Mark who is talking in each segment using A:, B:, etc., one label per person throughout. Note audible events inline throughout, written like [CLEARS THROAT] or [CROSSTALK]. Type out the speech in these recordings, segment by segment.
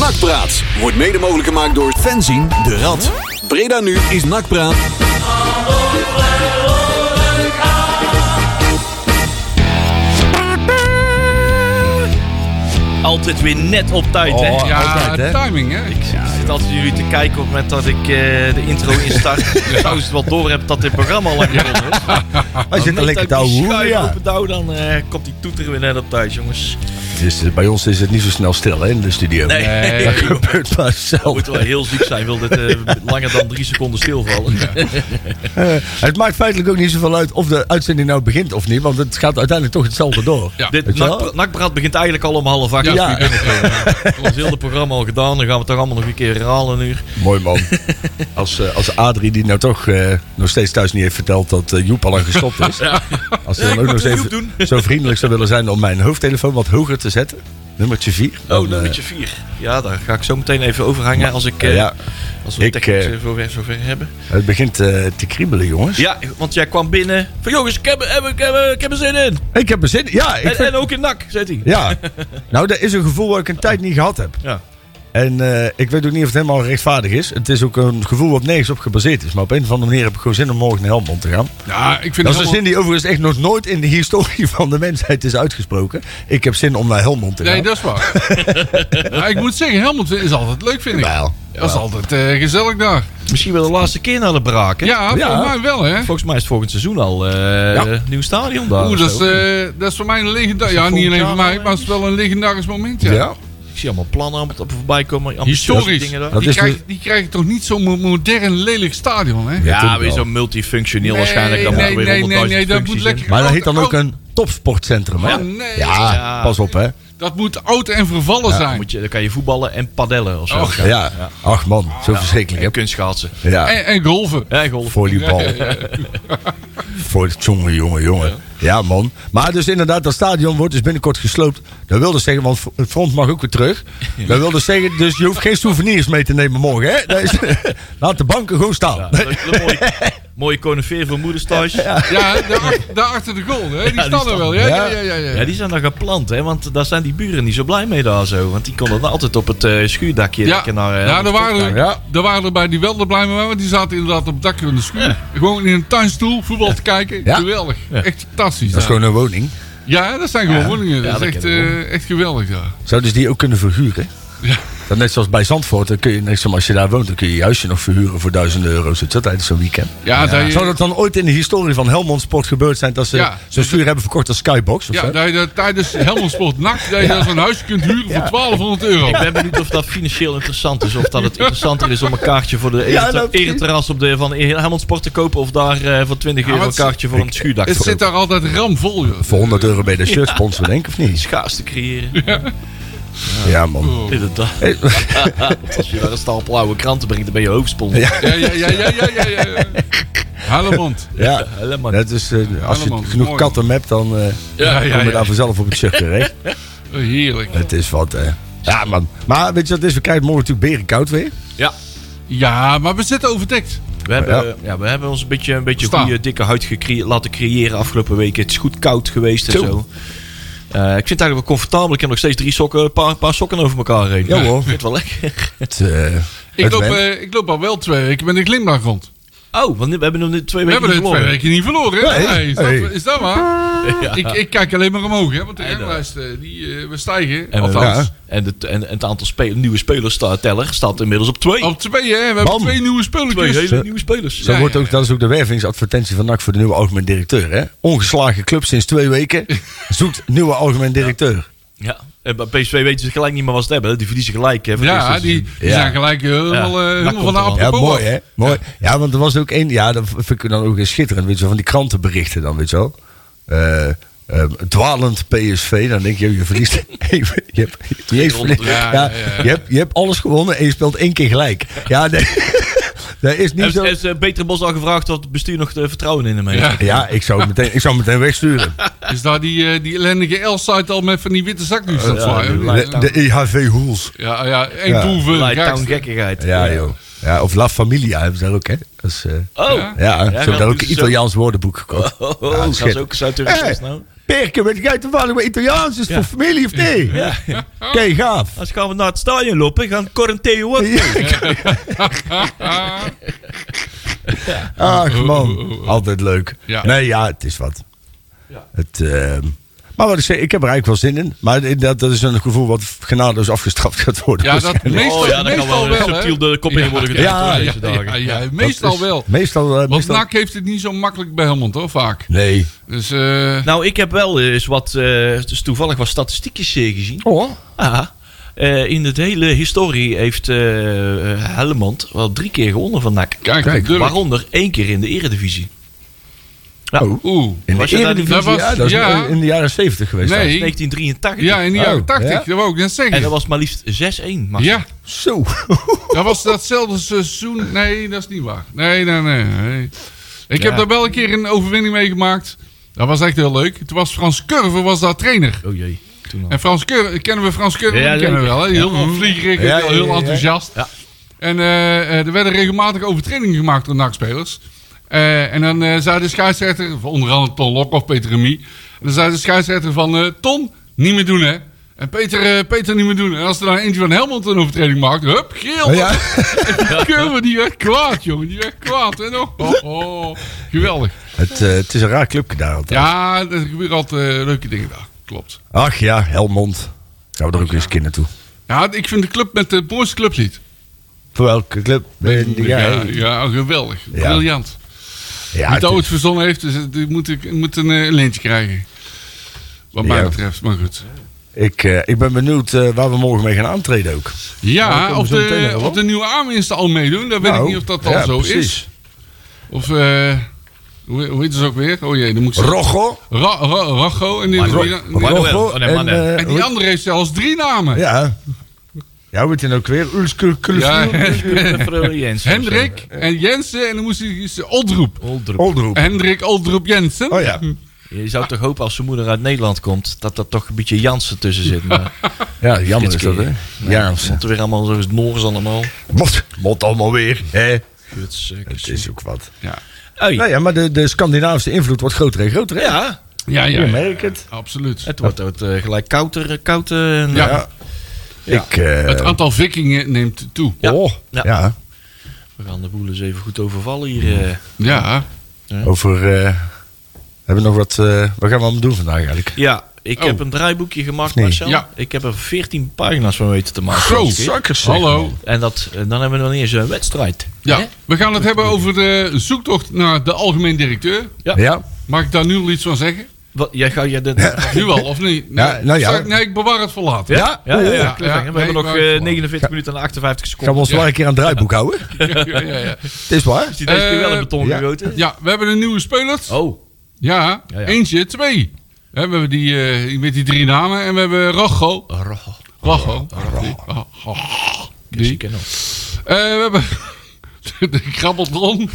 A: Nakpraat wordt mede mogelijk gemaakt door Fenzin de Rad. Breda nu is Nakpraat.
B: Altijd weer net op tijd, hè?
C: Oh,
B: Ja,
D: Ja,
C: Altijd, hè?
D: timing hè.
B: ik zit altijd jullie te kijken op het moment dat ik eh, de intro
C: [LAUGHS]
B: instart. Dus als je het wel door hebt dat dit programma al lang begonnen is.
C: [LAUGHS] Hij zit er lekker te ouwe ja.
B: Op douw, dan eh, komt die toeter weer net op tijd, jongens.
C: Dus, eh, bij ons is het niet zo snel stil hè, in de studio.
B: Nee, [LAUGHS]
D: Nee.
C: Dat [LAUGHS] gebeurt maar zelf.
B: moet wel heel ziek zijn, wil dit eh, langer dan drie seconden stilvallen.
C: Het maakt feitelijk ook niet zoveel uit of de uitzending nou begint of niet, want het gaat uiteindelijk toch hetzelfde door.
D: Ja.
B: Dit
C: Weet je wel?
B: nakbra- nakbraad begint eigenlijk al om half acht.
D: Ja,
C: Ja.
D: ik eh, ben het wel, ja.
B: Ons hele programma al gedaan, dan gaan we het toch allemaal nog een keer herhalen nu.
C: Mooi
B: [LAUGHS]
C: man. Als, eh, als Adrie, die nou toch eh, nog steeds thuis niet heeft verteld dat eh, Joep al lang
B: [LAUGHS]
C: gestopt is. Als hij dan ook nog
B: moet een
C: eens
B: Joep
C: even zo vriendelijk zou willen zijn om mijn hoofdtelefoon wat hoger te zetten. Nummertje eh, 4.
B: Oh, nummertje vier. Ja, daar ga ik zo meteen even overhangen als, ik, eh,
C: ja,
B: als we
C: ik,
B: technisch
C: eh,
B: eh, zover, zover hebben.
C: het begint eh, te kriebelen, jongens.
B: Ja, want jij kwam binnen van jongens, ik heb, heb, ik heb, ik heb er zin in.
C: Ik heb er zin in. Ja, ik
B: En,
C: vind-
B: en ook in nak, zegt hij.
C: [LAUGHS] ja. Nou, dat is een gevoel wat ik een tijd niet gehad heb.
B: Ja.
C: En eh, ik weet ook niet of het helemaal rechtvaardig is. Het is ook een gevoel wat nergens op gebaseerd is. Maar op een of andere manier heb ik gewoon zin om morgen naar Helmond te gaan.
D: Ja, ik
C: Dat
D: vind het
C: is een
D: helemaal-
C: zin die overigens echt nog nooit in de historie van de mensheid is uitgesproken. Ik heb zin om naar Helmond te gaan.
D: Nee, dat is waar. Maar ik moet zeggen, Helmond is altijd leuk, vind ik.
C: Wel,
D: Dat is altijd eh, gezellig daar.
B: Misschien wel de laatste keer naar de braak, hè?
D: Ja,
C: Ja.
D: volgens mij wel, hè?
B: Volgens mij is het volgend seizoen al eh nieuw stadion daar.
D: Oeh,
B: of
D: dat is,
B: zo.
D: eh, dat is voor mij een legendarisch...
B: Is dat
D: Ja,
B: volgend
D: niet alleen
B: jaar
D: voor
B: al
D: mij, maar het is wel een legendarisch moment, ja.
C: Ja.
B: Ik zie allemaal plannen allemaal op voorbij komen. ambitieuze
D: Historisch.
B: dingen daar.
C: Dat
D: die,
C: is
D: krijg,
C: dus-
D: die krijgen toch niet zo'n mo- modern, lelijk stadion, hè?
B: Ja,
C: natuurlijk
B: weer
C: wel.
B: zo'n multifunctioneel
D: Nee,
B: waarschijnlijk. Dan
D: nee,
B: moeten we weer
D: nee,
B: 100.000
D: nee, nee, dat
B: functies
D: moet lekker-
B: in.
C: Maar dat heet dan ook een topsportcentrum, hè?
D: Oh, nee.
C: Ja,
B: Ja.
C: pas op, hè?
D: Dat moet oud en vervallen
B: Dan,
D: zijn.
B: moet je, dan kan je voetballen en padellen of zo.
D: Och,
C: Ja, ach man, zo
B: En
C: verschrikkelijk, hè?
B: kunstschaatsen.
C: Ja,
D: En, en golven.
B: Ja, golf.
C: volleybal. Voor het jongen, jongen, jongen. Ja, man. Maar dus inderdaad, dat stadion wordt dus binnenkort gesloopt. Dat wil dus zeggen, want het front mag ook weer terug. Dat wil dus zeggen, dus je hoeft geen souvenirs mee te nemen morgen, hè? Dat
D: [LAUGHS]
C: is- Laat de banken gewoon staan.
B: Dat is een mooie, mooie conifeer voor moeders thuis. Ja.
D: [LAUGHS] Ja, daar, daar achter de goal, hè? Die
B: die
D: staan er
B: staan-
D: wel, ja? Ja,
C: Ja.
D: ja, ja. ja,
B: die zijn dan geplant, hè? Want daar zijn die buren niet zo blij mee daar zo. Want die konden dan altijd op het eh, schuurdakje
D: Ja,
B: lekker naar... eh,
D: ja, er waren er,
C: Ja.
D: er waren er bij die wel de blij mee, waren, want die zaten inderdaad op het dak van de schuur. Gewoon in een tuinstoel voetbal te kijken.
C: Ja.
D: Geweldig. Echt fantastisch.
C: Dat is
D: daar.
C: gewoon een woning.
D: Ja, dat zijn gewoon woningen.
B: Ja,
D: Dat
B: dat
D: is echt,
B: ken ik
D: eh, echt geweldig daar.
C: Zouden ze die ook kunnen verhuren?
D: Ja.
C: Dan net zoals bij Zandvoort, dan kun je, net zoals als je daar woont, dan kun je je huisje nog verhuren voor duizenden euro's. Het zit tijdens zo'n weekend.
D: Ja, Dat,
C: Zou
D: je,
C: dat dan ooit in de historie van Helmond Sport gebeurd zijn dat ze
D: Ja.
C: zo'n stuur hebben verkocht als Skybox? Of
D: ja,
C: zo?
D: dat je dat tijdens Helmond Sport Nacht dat je daar zo'n huisje kunt huren voor 1200 euro.
B: Ik ben benieuwd of dat financieel interessant is. Of dat het interessanter is om een kaartje voor de
C: Ja,
B: ere-
C: nou, precies.
B: ereterras op de, van Helmond Sport te kopen. Of daar eh, voor 20
D: Ja,
B: euro
D: maar
B: een
D: het-
B: kaartje voor een schuurdak
D: Het
B: te
D: zit
B: kopen.
D: daar altijd ramvol. joh.
C: Voor 100 euro bij de shirt sponsor, denk ik, of niet?
B: Schaars te creëren.
C: Ja, man.
D: Oh.
B: Inderdaad. Als je daar een stapel oude kranten brengt, dan ben je hoofdsponsor.
C: Ja.
D: Ja, ja, ja, ja, ja, ja. ja. Helmond.
C: Ja,
B: Helemaal
C: dat is, eh, als je
D: Helmond,
C: genoeg
D: mooi.
C: katten hebt, dan eh
D: Ja, ja,
C: kom je
D: ja.
C: daar vanzelf op het shirt
D: [LAUGHS]
C: terecht.
D: Heerlijk.
C: het is wat, hè. Ja, man. Maar weet je wat het is? We krijgen morgen natuurlijk berenkoud weer.
B: Ja,
D: Ja, maar we zitten overdekt.
B: we hebben, ja. we hebben ons een beetje een beetje
D: Staan.
B: goede dikke huid gecre- laten creëren afgelopen weken. Het is goed koud geweest en
C: Zo.
B: zo. Eh, ik vind het eigenlijk wel comfortabel. Ik heb nog steeds drie sokken, een paar, paar sokken over elkaar heen.
C: Ja, hoor.
B: Ik vind het wel lekker.
C: Het, eh,
D: Ik
C: het
D: loop,
C: went.
D: eh, ik loop al wel twee weken met een glimlach rond.
B: Oh, want we hebben hem nu twee
D: We
B: weken
D: hebben
B: niet
D: er twee
B: verloren.
D: weken niet verloren,
C: Nee.
D: hè? Nee, is, dat,
C: Hey.
D: is dat waar? Ik, ik kijk alleen maar omhoog, hè? Want de
B: En, eh,
D: ranglijst, eh, die, eh, we stijgen.
B: En, we-
D: althans.
C: ja.
B: en, het, en, en het aantal spe- nieuwe spelers sta- teller staat inmiddels op twee.
D: Op twee, hè? We hebben
C: Bam.
D: twee nieuwe
B: twee
D: spulletjes.
B: hele nieuwe spelers.
C: Zo
D: Ja,
C: wordt
D: ja,
C: ook,
D: ja.
C: dat is ook de wervingsadvertentie van NAC voor de nieuwe algemeen directeur. Hè? Ongeslagen club sinds twee
D: [LAUGHS]
C: weken zoekt nieuwe algemeen directeur.
B: Ja. En bij PSV weten ze gelijk niet meer wat ze hebben. hè. Die verliezen gelijk. Hè, van het
D: Ja,
B: eerste
D: die,
B: seizoen.
D: die
C: Ja.
D: zijn gelijk eh, helemaal, eh,
B: dat
D: helemaal
B: komt
D: van de
B: er wel.
C: Ja,
D: apropos.
C: mooi hè? Mooi. Ja. want er was ook één. Ja, dat vind ik dan ook weer schitterend. Weet je wel, van die krantenberichten dan, weet je wel. Eh, eh, dwalend PSV, dan denk je, joh, je verliest. [LAUGHS] je hebt, je, hebt,
B: Ronde terug.
C: ja,
D: Ja, ja, ja.
C: Je, hebt, je hebt alles gewonnen en je speelt één keer gelijk. Ja, nee, [LAUGHS] dat is niet
B: Heeft,
C: zo.
B: heeft eh, Peter Bos al gevraagd wat het bestuur nog eh, vertrouwen in hem heeft?
D: Ja.
C: Ja, ik zou het meteen, ik zou het meteen wegsturen.
D: Is daar die, eh, die ellendige L-site al met van die witte zakdoekjes aan het
B: ja,
D: zwaaien?
B: die
C: De,
D: Ja,
C: de EHV E Hoels.
D: ja, ja, één
C: Ja.
D: toeven.
B: Light
D: gekste.
B: Town gekkigheid.
C: Ja, joh. Ja, of La Familia hebben ze daar ook, hè? Dat is, eh,
B: Oh,
D: Ja.
C: ja, ze hebben
B: gaan
C: daar ook
B: dus
C: een Italiaans woordenboek
B: [LAUGHS]
C: gekocht.
B: oh,
C: Ja,
B: oh, gaan ze
C: schitterend.
B: ook Zuid-Europees
C: Hey.
B: nou?
C: Perke, weet jij toevallig wat Italiaans is voor familie of nee? Oké,
B: Ja.
C: gaaf.
B: Als gaan we naar het stadion lopen, gaan Corinteo ook.
C: Ja, Ach
D: Oh, oh,
C: man,
D: oh, oh.
C: altijd leuk.
D: Ja.
C: Nee, ja, het is wat. Het, ehm, maar wat ik zeg, ik heb er eigenlijk wel zin in. Maar dat, dat is een gevoel wat genadeloos afgestraft gaat worden.
D: Ja,
C: [LAUGHS]
D: dat
C: waarschijnlijk.
D: meestal,
B: Oh ja, daar kan wel
D: meestal wel, hè.
B: subtiel de kop in worden gedrukt
C: Ja,
B: hoor,
D: ja,
B: deze dagen.
D: ja, ja,
C: Dat
D: meestal
C: is-
D: wel.
C: Meestal, eh,
D: Want
C: meestal
D: NAC heeft het niet zo makkelijk bij Helmond, hoor, vaak.
C: Nee.
D: Dus, eh
B: Nou, ik heb wel eens wat, eh, dus toevallig wat statistiekjes eh, gezien.
C: Oh,
B: Ah, eh, in het hele historie heeft eh Helmond wel drie keer gewonnen van NAC.
D: kijk,
C: Kijk,
D: natuurlijk.
B: Waaronder één keer in de eredivisie. Nou,
C: Oh.
D: Oeh.
C: in de
B: Was je daar
C: Eredivisie,
D: niet- Dat was-
C: ja, dat is
D: ja.
C: in de jaren 70 geweest. dan.
D: Nee.
B: 1983.
D: Ja, in de jaren
C: Oh,
D: 80,
C: ja?
D: dat wou ik net zeggen.
B: En dat was maar liefst 6-1. Marcel.
D: Ja,
C: Zo.
D: dat was datzelfde seizoen. Nee, dat is niet waar. Nee, nee, nee. nee. Ik
B: Ja.
D: heb daar wel een keer een overwinning meegemaakt. Dat was echt heel leuk. Toen was Frans Curver was daar trainer.
B: Oh jee. Toen al.
D: En Frans Keur, kennen we Frans Keur?
B: Ja,
D: die kennen we
B: zeker.
D: wel. Hè? Heel
C: Ja,
D: vliegerig, heel,
C: ja, ja,
D: heel
C: ja.
D: enthousiast.
B: Ja.
D: En eh, eh, er werden regelmatig overtredingen gemaakt door NAC-spelers. Eh, en dan eh, zei de scheidsrechter, onder andere Ton Lok of Peter Remy... En dan zei de scheidsrechter van, eh, Ton, niet meer doen hè. En Peter, eh, Peter niet meer doen. En als er dan eentje van Helmond een overtreding maakt, hup, geel.
C: Oh, Ja.
D: [LAUGHS] En Keur, die werd kwaad, jongen. Die werd kwaad. En oh, oh, oh, geweldig.
C: [LAUGHS] Het, eh, het is een raar clubje daar altijd.
D: Ja, er gebeuren altijd eh, leuke dingen daar. Klopt.
C: Ach ja, Helmond. Gaan we er ook eens een keer naartoe.
D: Ja, ik vind de club met het mooiste clublied.
C: Voor welke club ben
D: Ja, Ehm, ja,
C: jij?
D: geweldig.
C: Ja.
D: Briljant.
C: Ja,
D: Wie het
C: het
D: ooit
C: is-
D: verzonnen heeft, dus, die moet, ik- moet een, eh, lintje krijgen. Wat mij
C: Ja.
D: betreft, maar goed.
C: ik, eh, ik ben benieuwd eh, waar we morgen mee gaan aantreden ook. daar Nou, komen
D: Ja,
C: we
D: of
C: zo meteen
D: de,
C: nog wel.
D: of de nieuwe aanwinsten al meedoen, dan weet
C: Nou,
D: ik niet of dat al
C: ja,
D: zo
C: precies.
D: is. Of, eh hoe, hoe heet ze ook weer? Oh jee, dan moet ze...
C: Rocco.
D: Ra- Ra- Rago. En die,
B: Maar-
D: die- die-
B: Manuel. Oh, nee,
C: en,
B: Manuel.
C: eh,
D: en
C: hoe-
D: die andere heeft zelfs drie namen.
C: Ja. Ja, hoe heet die nou ook weer? Ulske
D: Ja.
B: [LAUGHS] Freude Jensen.
D: [LAUGHS] Hendrik en Jensen en dan moest hij ze Oldroep.
B: Oldrup.
C: Oldroep.
D: Hendrik Oldroep Jensen.
C: Oh ja.
B: Je zou toch hopen als zijn moeder uit Nederland komt, dat er toch een beetje Jansen tussen zit. Maar
D: [LAUGHS]
C: Ja, jammer is dat, hè? Ja,
B: het komt er weer allemaal zo Noors allemaal.
C: Wat? Wat allemaal weer, hè? Het
B: Gutsukkers.
C: is ook wat.
D: Ja,
B: Hey.
C: Nou ja, maar de, de Scandinavische invloed wordt groter en groter, hè?
B: Ja,
D: ja, ja,
C: Je
D: ja,
C: merkt het.
D: absoluut.
B: het wordt ook eh, gelijk kouder, eh, kouder. En,
D: Ja.
B: eh,
C: Ja. Ik, eh,
D: Het aantal vikingen neemt toe.
B: Ja.
C: Oh, ja.
B: Ja. eh, We gaan de boel eens even goed overvallen hier. eh.
D: Ja,
C: Over... eh, hebben we nog wat... eh, wat gaan we allemaal doen vandaag eigenlijk?
B: Ja, ik
D: Oh.
B: heb een draaiboekje gemaakt,
C: Nee.
B: Marcel.
D: Ja.
B: Ik heb er 14 pagina's van weten te maken.
D: Zo,
B: deze keer.
D: zakkers, zeg. Hallo.
B: En dat, eh, dan hebben we nog niet eens een wedstrijd.
D: ja.
B: Hè?
D: We gaan het hebben over de zoektocht naar de algemeen directeur.
B: Ja.
C: Ja?
D: Mag ik daar nu al iets van zeggen?
B: Wat, jij ga je dat... Ja,
D: Nu al, of niet? Nee,
C: Ja, nou ja.
D: Zal ik- nee ik bewaar het voor later.
B: ja, ja, ja,
C: Ja, ja.
B: cliffhanger.
D: Ja,
B: We
D: nee,
B: hebben nog
D: maar-
B: eh, 49 minuten en 58
C: Gaan we
B: seconden.
C: ons wel een keer aan het draaiboek houden?
D: Ja, ja, ja.
C: Het is waar.
B: Is die deze keer wel in beton
C: Eh, ja.
B: gegoten?
D: Ja, we hebben een nieuwe spelers.
B: Oh,
D: Ja,
B: Ja, ja.
D: eentje, twee. Hè, we hebben die eh, met die drie namen. En we hebben Rogo.
B: roh.
D: Rogo. Die- Rogo. Die.
B: nou.
D: Eh, we hebben... [LAUGHS] De krabbeltron.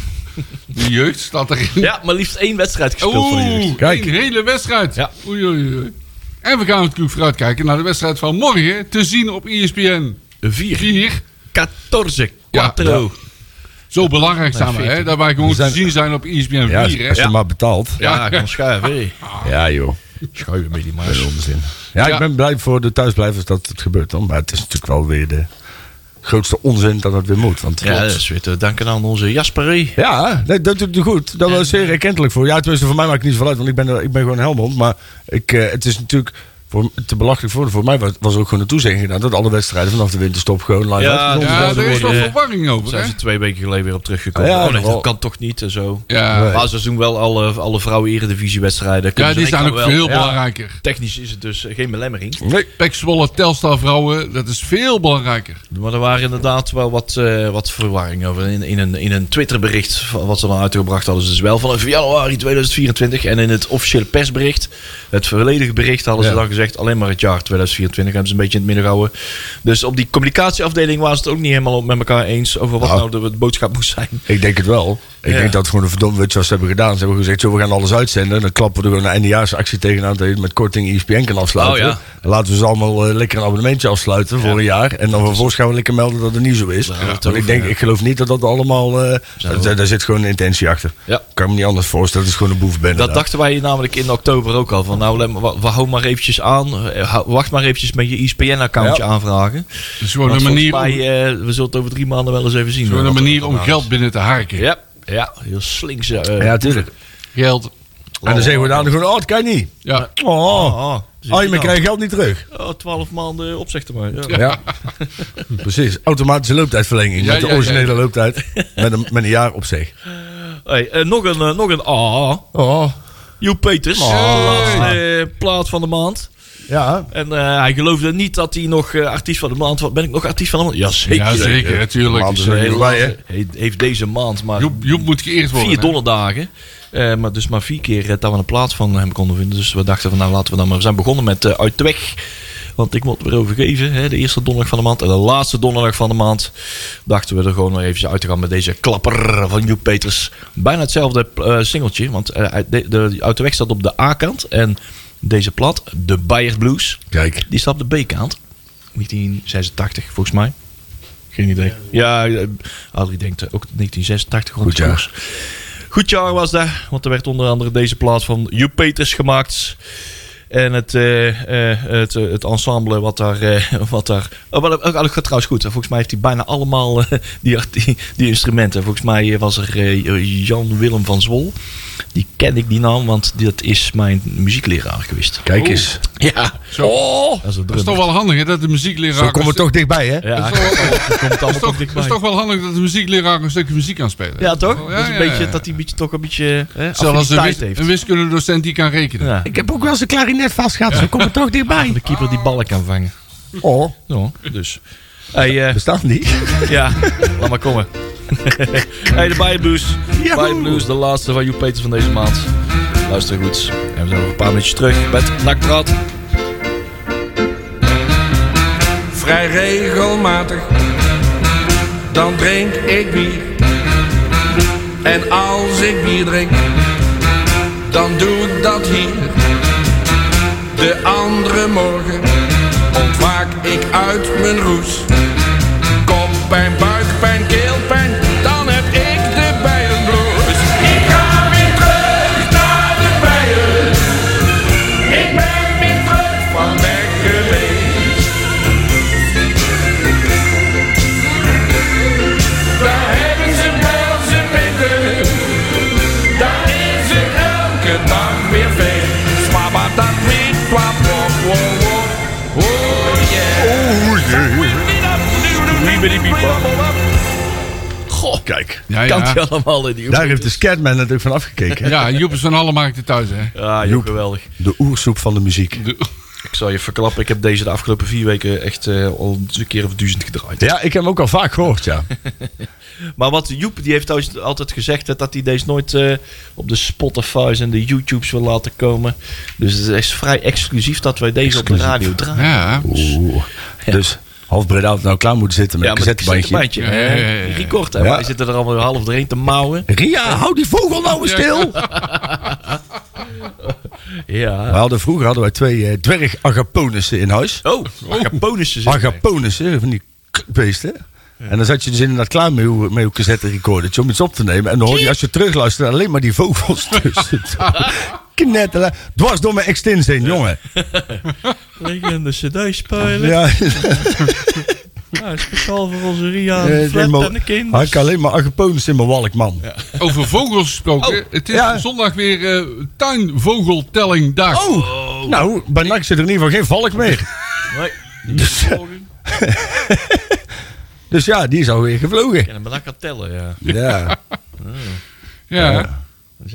D: De jeugd staat erin.
B: Ja, maar liefst één wedstrijd gespeeld voor de jeugd.
D: Oeh,
C: Kijk.
D: een hele wedstrijd.
B: Ja.
D: Oei, oei, oei. En we gaan natuurlijk vooruitkijken naar de wedstrijd van morgen. Te zien op E ESPN
B: Vier.
D: 4.
B: 14,
D: Ja,
B: 4.
D: ja. Zo belangrijk zijn we, hè? Dat wij gewoon
C: We zijn-
D: te zien zijn op E ESPN 4.
C: Ja, als
D: hè?
C: je maar betaalt.
B: Ja, ik kan schuiven. hé.
C: Ja, joh.
B: Schuiven met die
C: Dat is
B: maar.
C: onzin. Ja,
D: Ja.
C: ik ben blij voor de thuisblijvers dat het gebeurt dan. Maar het is natuurlijk wel weer de grootste onzin dat dat weer moet. Want
B: Ja, dat is weer te danken aan onze Jasper. hé.
C: Ja, nee, dat doet hij goed. Dat was zeer erkentelijk voor. Ja, tenminste, voor mij maakt het niet zoveel uit, want ik ben, er- ik ben gewoon Helmond. Maar ik, eh, het is natuurlijk voor, te belachelijk voor. Voor mij was, was er ook gewoon een toezegging gedaan dat alle wedstrijden vanaf de winterstop gewoon live
B: Ja,
C: uitgezonden
D: Ja,
C: zouden
D: er is
C: worden.
D: wel
B: worden-
D: verwarring over, hè?
B: Zijn ze twee weken geleden weer op teruggekomen.
C: Ja,
B: oh nee,
C: wel.
B: dat kan toch niet en zo.
D: Ja,
B: Maar ze doen wel alle, alle vrouwen-eredivisiewedstrijden.
D: ja
B: Kunnen
D: die
B: ze
D: zijn ook
B: enkel wel-
D: veel
B: Ja,
D: belangrijker.
B: Technisch is het dus eh, geen belemmering.
C: Nee,
D: Pek Zwolle, Telstar vrouwen, dat is veel belangrijker.
B: Maar er waren inderdaad wel wat, eh, wat verwarring over. In, in, een, in een Twitterbericht, van- wat ze dan uitgebracht hadden, ze dus wel vanaf januari 2024. En in het officiële persbericht, het volledige bericht, hadden
C: Ja.
B: ze dan gezegd gezegd alleen maar het jaar 2024 hebben ze een beetje in het midden gehouden. Dus op die communicatieafdeling waren ze het ook niet helemaal met elkaar eens over wat nou,
C: Nou.
B: de, de boodschap moest zijn.
C: Ik denk het wel. Ik
B: Ja.
C: denk dat het gewoon een verdomd witje was ze hebben gedaan. Ze hebben gezegd, joh, we gaan alles uitzenden. Dan klappen we er gewoon een eindejaarsactie tegenaan... dat je met korting E ESPN kan afsluiten.
E: Oh, ja.
C: Dan laten we ze allemaal eh, lekker een abonnementje afsluiten voor een jaar. En dan vervolgens gaan we lekker melden dat het niet zo is. Want ik, denk, ik geloof niet dat dat allemaal... eh, daar, daar zit gewoon een intentie achter.
B: Ja.
C: Kan ik me niet anders voorstellen. Het is gewoon een boevenbende.
B: Dat
C: daar.
B: dachten wij namelijk in oktober ook al. Van nou, let maar- wa- wa- hou maar eventjes aan. Eh, hou- Wacht maar eventjes met je ISPN-accountje
C: Ja.
B: aanvragen.
D: Dus Het is gewoon
B: Want
D: een manier,
B: volgens
D: om,
B: mij, eh, we zullen het over drie maanden wel eens even zien.
D: gewoon een
B: wat er
D: manier om
B: gedaan is.
D: geld binnen te harken.
B: Ja, ja heel slinkse. eh,
C: Ja, tuurlijk.
D: Geld.
C: En dan zeggen we dan gewoon, oh, dat kan niet.
D: Ja.
C: Oh, oh,
B: Oh,
C: je maar krijgt geld niet terug.
B: Oh, 12 maanden opzichten maar. Ja.
C: Ja, [LAUGHS] precies. Automatische looptijdverlenging.
D: Ja,
C: met de
D: ja, ja.
C: originele looptijd. Met een, met een jaar op zich.
B: Hey, eh, nog een, eh, nog een ah.
C: Oh,
B: Joep Peters. Laatste eh, plaat van de maand.
C: ja.
B: En eh, hij geloofde niet dat hij nog eh, artiest van de maand was. Ben ik nog artiest van de maand? Jazeker.
D: Ja, zeker,
C: Want
D: natuurlijk.
C: ze-
B: Heel
C: Blij, hè?
B: laat, he- Heeft deze maand maar
D: Joep, Joep moet geëerd worden.
B: vier
D: hè?
B: donderdagen. Eh, maar dus maar vier keer eh, dat we een plaat van hem konden vinden. Dus we dachten van nou laten we dan maar. We zijn begonnen met eh, Uit de Weg. Want ik moet weer overgeven. Hè, de eerste donderdag van de maand. En de laatste donderdag van de maand. Dachten we er gewoon nog even uit te gaan met deze klapper van Joep Peters. Bijna hetzelfde eh, singeltje. Want eh, uit de, de, Uit de Weg staat op de A-kant. En deze plaat, de Bayard Blues.
C: Kijk.
B: Die staat op de B-kant. 1986 volgens mij. Geen idee. Ja, eh, Adrie denkt eh, ook 1986. rond
C: Goed
B: de
C: jaar.
B: koers. Goed jaar was dat. Want er werd onder andere deze plaat van Joep Peters gemaakt. En het, eh, eh, het, eh, het ensemble wat daar... eh, wat daar oh, wel, ook- ook gaat trouwens goed. Volgens mij heeft hij bijna allemaal eh, die, art- die, die instrumenten. Volgens mij eh, was er eh, Jan-Willem van Zwol. Die ken ik die naam, want dat is mijn muziekleraar geweest. Oh.
C: Kijk eens.
B: Ja.
D: Zo.
B: Dat is een
D: Dat is toch
B: drummer.
D: wel handig hè, dat de muziekleraar...
C: Zo komen we
D: een
C: toch dichtbij, hè?
B: Ja,
D: Dat is wel-
B: [LAUGHS] dat komt
D: Dat is,
B: allemaal
D: toch,
B: toch
D: dat is
B: dichtbij.
D: toch wel handig dat de muziekleraar een stukje muziek kan spelen.
B: Ja, toch?
D: Ja,
B: dat is een
D: ja,
B: beetje,
D: ja.
B: dat hij een beetje, toch een beetje hè,
D: Zelfs als een,
B: tijd
D: wis,
B: heeft.
D: een wiskundedocent die kan rekenen.
B: ja.
C: Ik heb ook wel eens een klarinet vast gehad. Zo komen we toch dichtbij.
B: De keeper die ballen kan vangen.
C: Oh,
B: Ja, dus. Hey, eh,
C: bestaat niet.
B: ja, laat maar komen. [LAUGHS] hey, de Bijenblues.
C: Yahoo!
B: Bijenblues, de laatste van Joep Peters van deze maand. Luister goed. En we zijn nog een paar minuutjes terug met Nakpraat.
F: vrij regelmatig. Dan drink ik bier. En als ik bier drink, dan doe ik dat hier. De andere morgen ontwaak ik uit mijn roes. Koppijn, buikpijn, keelpijn, dan heb ik de bijenbloes. Ik ga weer terug naar de bijen. Ik ben weer terug van weg geweest. Daar hebben ze wel zijn pikken. Daar is het elke dag weer feest. Zwaba dat wiet, plap, wop, wop, wop. Oh yeah.
B: Goh, kijk.
D: Ja,
B: Kan
D: ja.
B: die allemaal in die
C: Daar heeft de Scatman natuurlijk van afgekeken. hè?
D: Ja, Joep is van alle markten thuis, hè?
B: Ja, Ah, joh,
C: Joep.
B: geweldig.
C: De oersoep van de muziek.
B: Ik zal je verklappen, ik heb deze de afgelopen vier weken echt eh, al een keer of duizend gedraaid.
C: Ja, ik heb hem ook al vaak gehoord, ja.
B: Maar wat Joep, die heeft thuis altijd gezegd hè, dat hij deze nooit eh, op de Spotify's en de YouTubes wil laten komen. Dus het is vrij exclusief dat wij deze op de radio draaien.
D: Ja,
C: Oeh. Dus half Breda had nou klaar moeten zitten met een cassettebandje.
B: bandje.
D: Ja, ja, ja, ja, ja.
B: Record, hè.
C: Ja.
B: Wij zitten er allemaal half doorheen te mouwen.
C: Ria, hou die vogel nou eens stil! We
B: Ja.
C: hadden, vroeger hadden wij twee eh, dwerg-agaponissen in huis.
B: Oh, agaponissen zitten.
C: Agaponissen, van die kutbeesten. En dan zat je dus inderdaad klaar met je, met je cassette-recordertje om iets op te nemen. En dan hoorde je als je terugluisterde alleen maar die vogels [LAUGHS] tussen. Knetteren. Dwars door mijn extins heen, jongen.
B: Legende cd-spelen. Ja.
C: Ja, [LAUGHS]
B: speciaal voor onze Ria,
C: eh,
B: de Flap
C: maar-
B: en de kind.
C: had ik alleen maar agaponissen in mijn walk, man.
D: over vogels gesproken. het is
C: ja.
D: zondag weer eh, tuinvogeltellingdag.
C: Oh, nou, bij NAC zit er in ieder geval geen valk meer. [LAUGHS]
B: Nee.
C: Dus, [LAUGHS] dus ja, die is alweer gevlogen.
B: En dan kan tellen, ja.
C: Ja,
D: ja.
B: ja.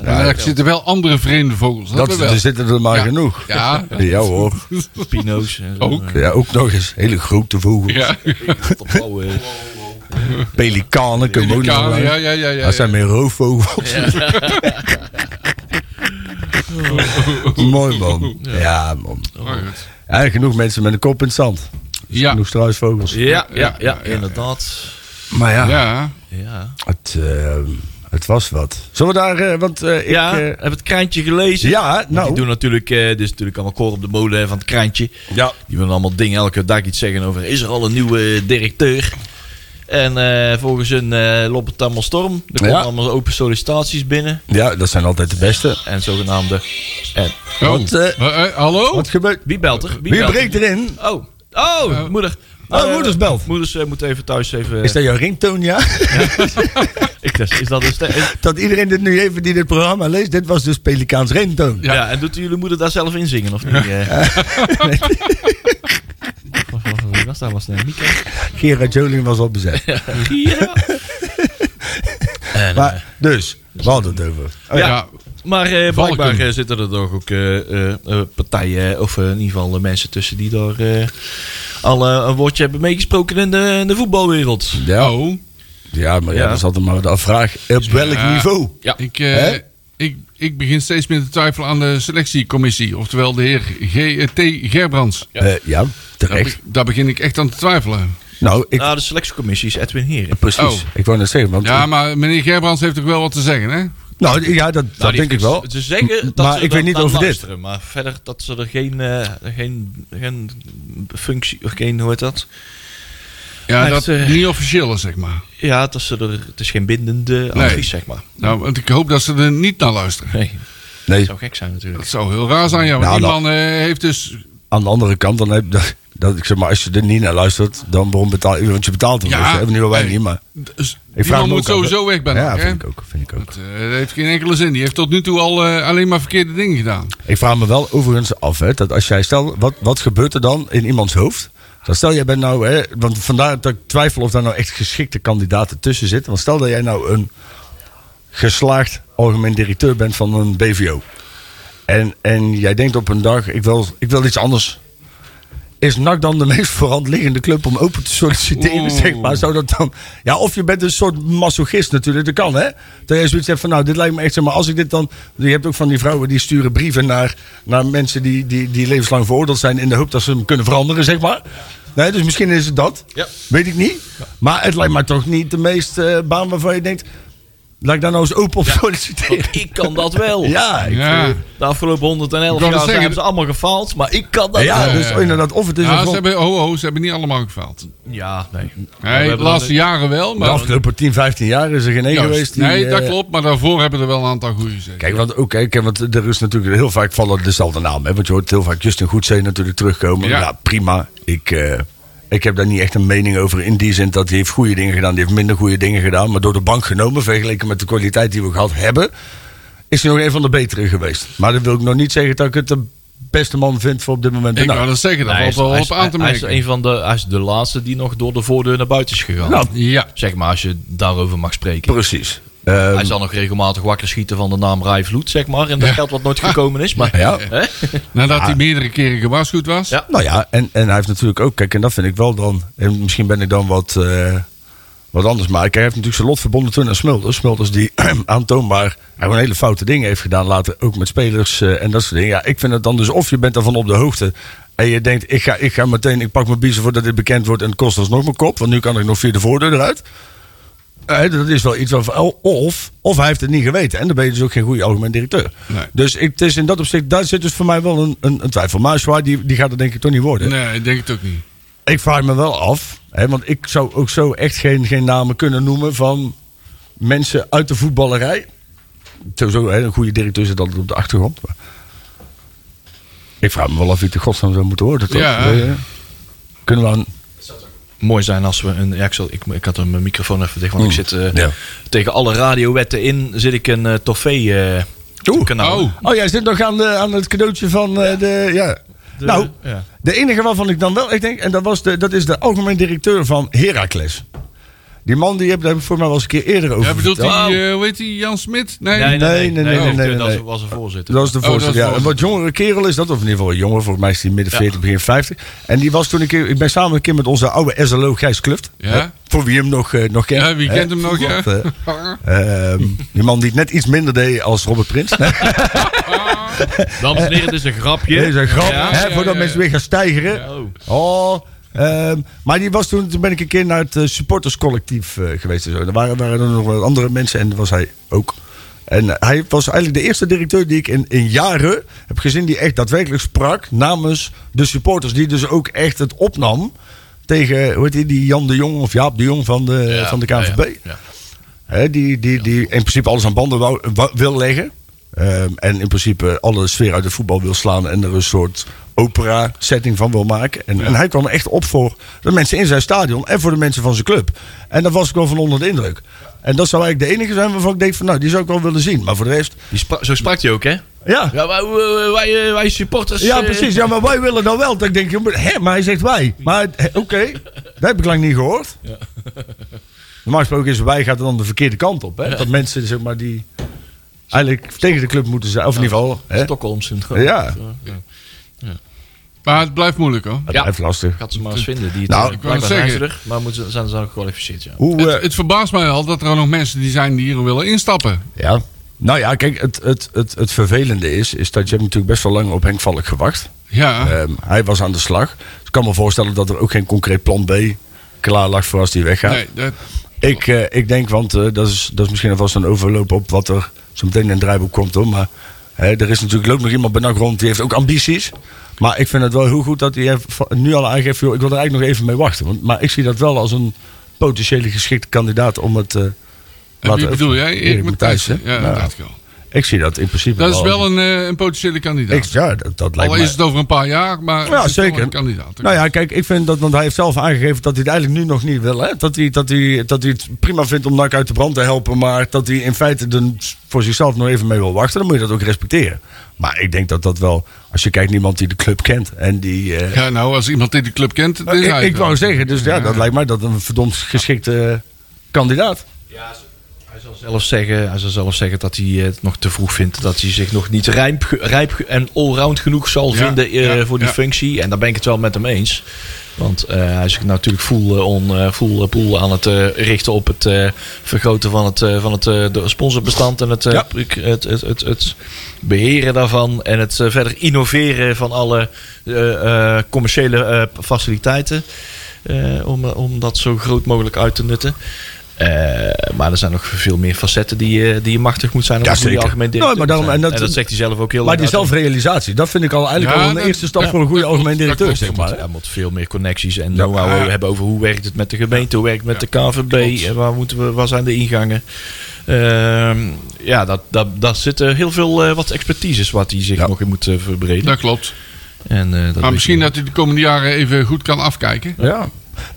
D: Maar er zitten wel andere vreemde vogels. Dat,
C: dat,
D: we
C: is-
D: wel.
C: er zitten er maar
D: Ja.
C: genoeg.
D: Ja,
C: Ja hoor.
B: Pino's en zo.
D: Ook.
C: Ja, ook nog eens. Hele grote vogels.
D: ja.
B: Tot blauwe-
C: Pelikanen kunnen we ook nog
D: Ja,
C: wel.
D: ja, ja, ja, ja.
C: Dat zijn meer roofvogels. Mooi man. Ja man.
D: Oh, goed.
C: Ja, genoeg mensen met een kop in het zand.
D: Ja,
C: Genoeg struisvogels.
B: Ja, ja, ja,
D: ja, ja,
B: inderdaad.
C: Maar ja,
D: ja.
B: Ja,
C: Het, eh, het was wat. Zullen we daar... eh, want eh, ik...
B: ja
C: eh,
B: heb het kraantje gelezen?
C: ja,
B: Want
C: nou...
B: Die doen natuurlijk, eh dit is natuurlijk allemaal koor op de molen hè, van het kraantje.
C: Ja.
B: Die willen allemaal dingen elke dag iets zeggen over, is er al een nieuwe directeur? En eh, volgens hun eh loopt het allemaal storm. Er komen
C: Ja.
B: allemaal open sollicitaties binnen.
C: ja, dat zijn altijd de beste.
B: En zogenaamde... En,
D: Oh.
C: Want, eh,
D: Eh, eh, hallo?
C: wat gebeurt...
B: wie belt er? Wie,
C: Wie
B: belt er?
C: breekt erin?
B: Oh, oh, moeder.
C: Oh,
B: Eh,
C: moeders belt.
B: Moeders eh, moeten even thuis even...
C: Is dat jouw ringtoon, ja? [LAUGHS]
B: ik, is dat een ste- is-
C: Dat iedereen dit nu even die dit programma leest. Dit was dus Pelikaans ringtoon.
B: ja. en doet jullie moeder daar zelf in zingen of niet? Eh?
C: [LAUGHS]
B: Wacht, wacht, wacht, Wie was daar? Was dat Mieke?
C: Gerard Joling was al bezet.
B: Ja. En, eh,
C: Maar, dus, we hadden het over.
D: Oh,
B: ja.
D: ja.
B: maar eh, blijkbaar
D: Valken.
B: eh, zitten er toch ook eh, eh, eh, partijen, of eh, in ieder geval eh, mensen tussen die daar eh, al eh, een woordje hebben meegesproken in de, in de voetbalwereld.
C: Ja,
D: Oh.
C: ja maar ja,
B: Ja.
C: dat is altijd maar de afvraag. Op welk
D: Ja.
C: niveau?
D: Ik, eh,
C: Hè?
D: ik, ik begin steeds meer te twijfelen aan de selectiecommissie. Oftewel de heer G- eh, T. Gerbrands.
C: Ja, Eh, ja
D: Daar,
C: terecht.
D: be- daar begin ik echt aan te twijfelen.
C: Nou, ik,
B: Nou, de selectiecommissie is Edwin Heren.
C: precies.
D: oh.
C: Ik wou net zeggen, want...
D: Ja, maar meneer Gerbrands heeft ook wel wat te zeggen, hè?
C: nou, ja, dat, dat denk ik
D: dus-
C: wel.
B: dus- Ze zeggen dat
C: maar
B: ze
C: ik
B: er
C: weet niet
B: naar
C: over dit.
B: luisteren, Maar verder dat ze er geen, eh, geen, geen functie, of geen, hoe heet dat?
D: Ja,
B: Hij
D: dat
B: heeft, eh,
D: niet officieel is, zeg maar.
B: Ja, dat ze er, het is geen bindende
D: Nee.
B: advies, zeg maar.
D: Nou, want ik hoop dat ze er niet naar luisteren.
B: Nee,
C: Nee,
B: zou gek zijn
C: [LAUGHS]
D: Dat
B: natuurlijk.
D: zou heel raar zijn, ja. Want
C: Nou,
D: die
C: dat-
D: man eh, heeft dus...
C: aan de andere kant, dan heb dat, dat, ik zeg maar, als je er niet naar luistert, dan waarom betaal je? Want je betaalt hem.
D: Ja.
C: dus, hè? nu al wij
D: Nee.
C: niet, maar...
D: dus
C: Ik
D: die
C: vraag
D: man
C: me
D: moet
C: ook af,
D: sowieso weg ben
C: Ja,
D: ik, hè?
C: vind ik ook, vind ik ook.
D: Dat, eh, dat heeft geen enkele zin. Die heeft tot nu toe al eh, alleen maar verkeerde dingen gedaan.
C: Ik vraag me wel overigens af, hè, dat als jij stel, wat, wat gebeurt er dan in iemands hoofd? Dan stel jij bent nou, hè, want vandaar dat ik twijfel of daar nou echt geschikte kandidaten tussen zitten. Want stel dat jij nou een geslaagd algemeen directeur bent van een BVO. En, en jij denkt op een dag, ik wil, ik wil iets anders. Is NAC dan de meest voorhand liggende club om open te solliciteren,
D: Oeh.
C: zeg maar? Zou dat dan... Ja, of je bent een soort masochist natuurlijk, dat kan hè? Dat je zoiets hebt van, nou, dit lijkt me echt, zeg maar, als ik dit dan... Je hebt ook van die vrouwen die sturen brieven naar, naar mensen die, die, die levenslang veroordeeld zijn... in de hoop dat ze hem kunnen veranderen, zeg maar. Nee, dus misschien is het dat.
B: Ja.
C: Weet ik niet. Maar het lijkt me toch niet de meest eh, baan waarvan je denkt... Laat ik daar nou eens open op solliciteren.
B: Ik kan dat wel.
C: Ja, ik
D: Ja.
C: vind-
B: De afgelopen 111
D: Ik wou
B: jaar
D: net
B: zijn,
D: zeggen-
B: hebben ze allemaal gefaald, maar ik kan dat
C: ja,
B: wel.
C: dus inderdaad, of het is een
D: Ja, ze
C: grond-
D: hebben, oh, oh, ze hebben niet allemaal gefaald.
B: Ja, nee. We
D: Nee,
B: hebben
D: de laatste
B: dan-
D: jaren wel,
C: De
D: maar...
C: afgelopen 10, 15 jaar is er geen één
D: Juist.
C: geweest die...
D: nee,
C: eh,
D: dat klopt, maar daarvoor hebben er wel een aantal goede gezeten.
C: Kijk, want, oké, kijk, want er is natuurlijk heel vaak vallen dezelfde naam. Hè? Want je hoort heel vaak Justin Goedzee natuurlijk terugkomen. Ja,
D: Ja.
C: prima. Ik, eh, ik heb daar niet echt een mening over. In die zin dat hij heeft goede dingen gedaan. Die heeft minder goede dingen gedaan. Maar door de bank genomen, vergeleken met de kwaliteit die we gehad hebben... is hij nog een van de betere geweest. Maar dat wil ik nog niet zeggen dat ik het de beste man vind voor op dit moment.
D: ik
C: Nou,
D: wou dat zeggen, daar
B: Hij
D: valt
B: is-
D: wel
B: hij
D: op
B: is-
D: aan te
B: hij is
D: merken.
B: een van de, hij is de laatste die nog door de voordeur naar buiten is gegaan.
C: Nou,
D: Ja,
B: Zeg maar, als je daarover mag spreken.
C: precies. Ehm,
B: Hij zal nog regelmatig wakker schieten van de naam Rai Vloed, zeg maar. En dat geld wat nooit gekomen is.
D: [LAUGHS]
B: Maar,
C: Ja.
B: hè?
D: nadat
C: Ah.
D: hij meerdere keren gewaarschuwd was.
B: Ja.
C: Nou ja, en, en hij heeft natuurlijk ook, kijk, en dat vind ik wel dan, en misschien ben ik dan wat, eh, wat anders, maar kijk, hij heeft natuurlijk zijn lot verbonden toen aan Smulders. Smulders die [CLEARS THROAT] aantoonbaar gewoon hele foute dingen heeft gedaan later, ook met spelers eh, en dat soort dingen. Ja, ik vind het dan dus, of je bent daarvan op de hoogte en je denkt, ik ga, ik ga meteen, ik pak mijn biezen voordat dit bekend wordt en het kost alsnog mijn kop, want nu kan ik nog via de voordeur eruit. Eh, dat is wel iets van. Of, of hij heeft het niet geweten. En dan ben je dus ook geen goede algemeen directeur.
D: Nee.
C: Dus ik, het is in dat opzicht. Daar zit dus voor mij wel een, een, een twijfel. Maar Zwaar, die, die gaat er denk ik toch niet worden.
D: Nee, ik denk het ook niet.
C: Ik vraag me wel af. Hè, want ik zou ook zo echt geen, geen namen kunnen noemen. van mensen uit de voetballerij. Sowieso, hè, een goede directeur zit altijd op de achtergrond. Maar ik vraag me wel af wie de godsnaam zou moeten worden. Toch?
D: Ja.
C: Eh, Kunnen we aan.
B: Mooi zijn als we een. Ja, ik, zal, ik, ik had mijn microfoon even dicht, want ik zit eh,
C: Ja.
B: tegen alle radiowetten in. Zit ik een eh toffee-kanaal.
D: Oh,
C: Oh, jij zit nog aan, de, aan het cadeautje van eh, de. Ja. nou,
B: ja.
C: de enige waarvan ik dan wel echt denk, en dat, was de, dat is de algemeen directeur van Heracles. Die man die heb, daar heb ik voor mij wel eens een keer eerder over
D: Ja, bedoelt
C: verteld.
D: hij, eh, hoe heet hij, Jan Smit? Nee.
C: nee, nee, nee, nee, nee,
B: dat
C: nee.
B: was een voorzitter.
C: Dat was de
D: Oh, dat is
C: voorzitter,
D: de
C: ja. Een
D: voorzitter.
C: wat jongere kerel is dat, of in ieder geval een jongen. Volgens mij is hij midden
B: Ja.
C: 40, begin 50. En die was toen een keer... Ik ben samen een keer met onze oude SLO Gijs Kluft.
D: Ja.
C: Hè, Voor wie hem nog, eh, nog kent.
D: Ja, wie
C: hè.
D: kent hem nog, ja?
C: Dat, eh, Ehm, die man die het net iets minder deed als Robert Prins. Nee,
B: Dames en heren, dit is een grapje.
C: dat is een grap.
B: Ja,
C: hè,
D: ja,
C: voordat
D: ja,
C: mensen weer gaan stijgeren.
B: Oh.
C: Oh, ehm, maar die was toen, toen ben ik een keer naar het eh, supporterscollectief eh, geweest. En zo. Er waren, waren er nog wat andere mensen en daar was hij ook. En eh, hij was eigenlijk de eerste directeur die ik in, in jaren heb gezien die echt daadwerkelijk sprak namens de supporters. Die dus ook echt het opnam tegen, hoe heet die, die Jan de Jong of Jaap de Jong van de,
B: Ja,
C: van de
B: ja,
C: KNVB.
B: ja, ja.
C: Hè, die, die, die in principe alles aan banden wou- wa- wil leggen. Ehm, en in principe alle sfeer uit het voetbal wil slaan. En er een soort opera setting van wil maken. En, en hij kwam echt op voor de mensen in zijn stadion. En voor de mensen van zijn club. En daar was ik wel van onder de indruk. En dat zou eigenlijk de enige zijn waarvan ik denk van nou die zou ik wel willen zien. Maar voor de rest. eh,
B: Die spra- zo sprak hij ook, hè?
C: Ja,
B: Ja, wij, wij- wij, wij supporters...
C: ja
B: eh,
C: precies. Ja, maar wij willen dan wel. Dat ik denk, ja, maar, hè, maar hij zegt wij. Maar het- hè, oké, dat heb ik lang niet gehoord. Normaal gesproken is wij gaat dan de verkeerde kant op. Hè? Dat mensen zeg maar die eigenlijk tegen de club moeten zijn. Of in ieder geval. Hè?
B: Stockholm-syndroom.
C: Ja.
D: [LAUGHS] Maar het blijft moeilijk hoor.
C: Dat
B: Ja.
C: blijft lastig.
B: Gaat ze maar eens vinden. Die het-
C: Nou,
B: blijkbaar
D: ik wou
B: zijn
D: zeggen.
B: ze er, maar moeten, ze- zijn ze dan ook gekwalificeerd, ja.
C: Hoe, eh,
D: Het, het verbaast mij al dat er nog mensen die zijn die hier willen instappen.
C: ja. Nou ja, kijk, het, het, het, het vervelende is, is dat je hebt natuurlijk best wel lang op Henk Valk gewacht.
D: Ja.
C: Ehm, hij was aan de slag. Dus ik kan me voorstellen dat er ook geen concreet plan B klaar lag voor als hij weggaat.
D: Nee, dat,
C: Ik, eh, ik denk, want eh, dat, is, dat is misschien alvast een overloop op wat er zo meteen in het draaiboek komt hoor. Maar hè, er is natuurlijk loopt nog iemand bij NAC rond die heeft ook ambities. Maar ik vind het wel heel goed dat hij heeft- va- nu al aangeeft, joh, ik wil er eigenlijk nog even mee wachten. Want, maar ik zie dat wel als een potentiële geschikte kandidaat om het... eh
D: en wie bedoel jij?
C: Erik
D: Erik Matthijs.
C: Matthijs, hè?
D: Ja,
C: Nou,
D: dat dacht ik al.
C: Ik zie dat in principe
D: Dat is wel
C: als-
D: een, eh, een potentiële kandidaat.
C: Ik, ja, dat, dat lijkt
D: al
C: me...
D: is het over een paar jaar, maar het
C: Ja,
D: is toch
C: zeker.
D: een kandidaat.
C: Nou ja, kijk, ik vind dat, want hij heeft zelf aangegeven dat hij het eigenlijk nu nog niet wil. Hè? Dat, hij, dat, hij, dat hij het prima vindt om NAC uit de brand te helpen, maar dat hij in feite er voor zichzelf nog even mee wil wachten. Dan moet je dat ook respecteren. Maar ik denk dat dat wel, als je kijkt, niemand die de club kent en die. eh,
D: Ja, nou, als iemand die de club kent, dan is
C: ik,
D: hij
C: ik
D: het
C: wou
D: wel.
C: zeggen, dus ja, dat lijkt mij dat een verdomd geschikte eh, kandidaat.
B: Hij zal, zelf zeggen, hij zal zelf zeggen dat hij het nog te vroeg vindt. Dat hij zich nog niet rijp, ge- rijp ge- en allround genoeg zal
D: Ja,
B: vinden eh,
D: ja,
B: voor die
D: ja.
B: functie. En daar ben ik het wel met hem eens. Want eh, hij is natuurlijk full, eh, on, eh, full eh, pool aan het eh, richten op het eh, vergroten van het, eh, van het eh, de sponsorbestand. En het, eh,
C: Ja.
B: ik- het, het, het, het beheren daarvan. En het eh, verder innoveren van alle eh, eh, commerciële eh, faciliteiten. Eh, om, eh, om dat zo groot mogelijk uit te nutten. Eh, maar er zijn nog veel meer facetten die, je- die je machtig moet zijn. om
C: Ja,
B: als je
C: zeker.
B: algemeen
C: Nou,
B: directeur
C: maar
B: te
C: daarom-
B: zijn.
C: en
B: en,
C: dat-
B: dat, zegt hij zelf ook heel
C: Maar
B: lang
C: die
B: uit.
C: zelfrealisatie, dat vind ik al eigenlijk
D: Ja,
C: al een
D: dat-
C: eerste stap
D: ja,
C: voor een goede
D: dat
C: algemeen
D: klopt, dat
B: Hij
C: directeur, zeg maar.
B: moet,
C: hè?
B: hij moet veel meer connecties en know-how
D: Ah, Ja.
B: hebben over hoe werkt het met de gemeente, hoe werkt het met de KNVB,
D: klopt.
B: en waar, moeten we, waar zijn de ingangen. Ehm, ja, dat, dat, daar zitten heel veel eh, wat expertises wat hij zich
C: Ja.
B: nog in moet eh, verbreden.
D: Dat klopt.
B: en, eh, dat weet
D: Maar
B: ik
D: misschien
B: niet.
D: dat hij de komende jaren even goed kan afkijken.
C: Ja.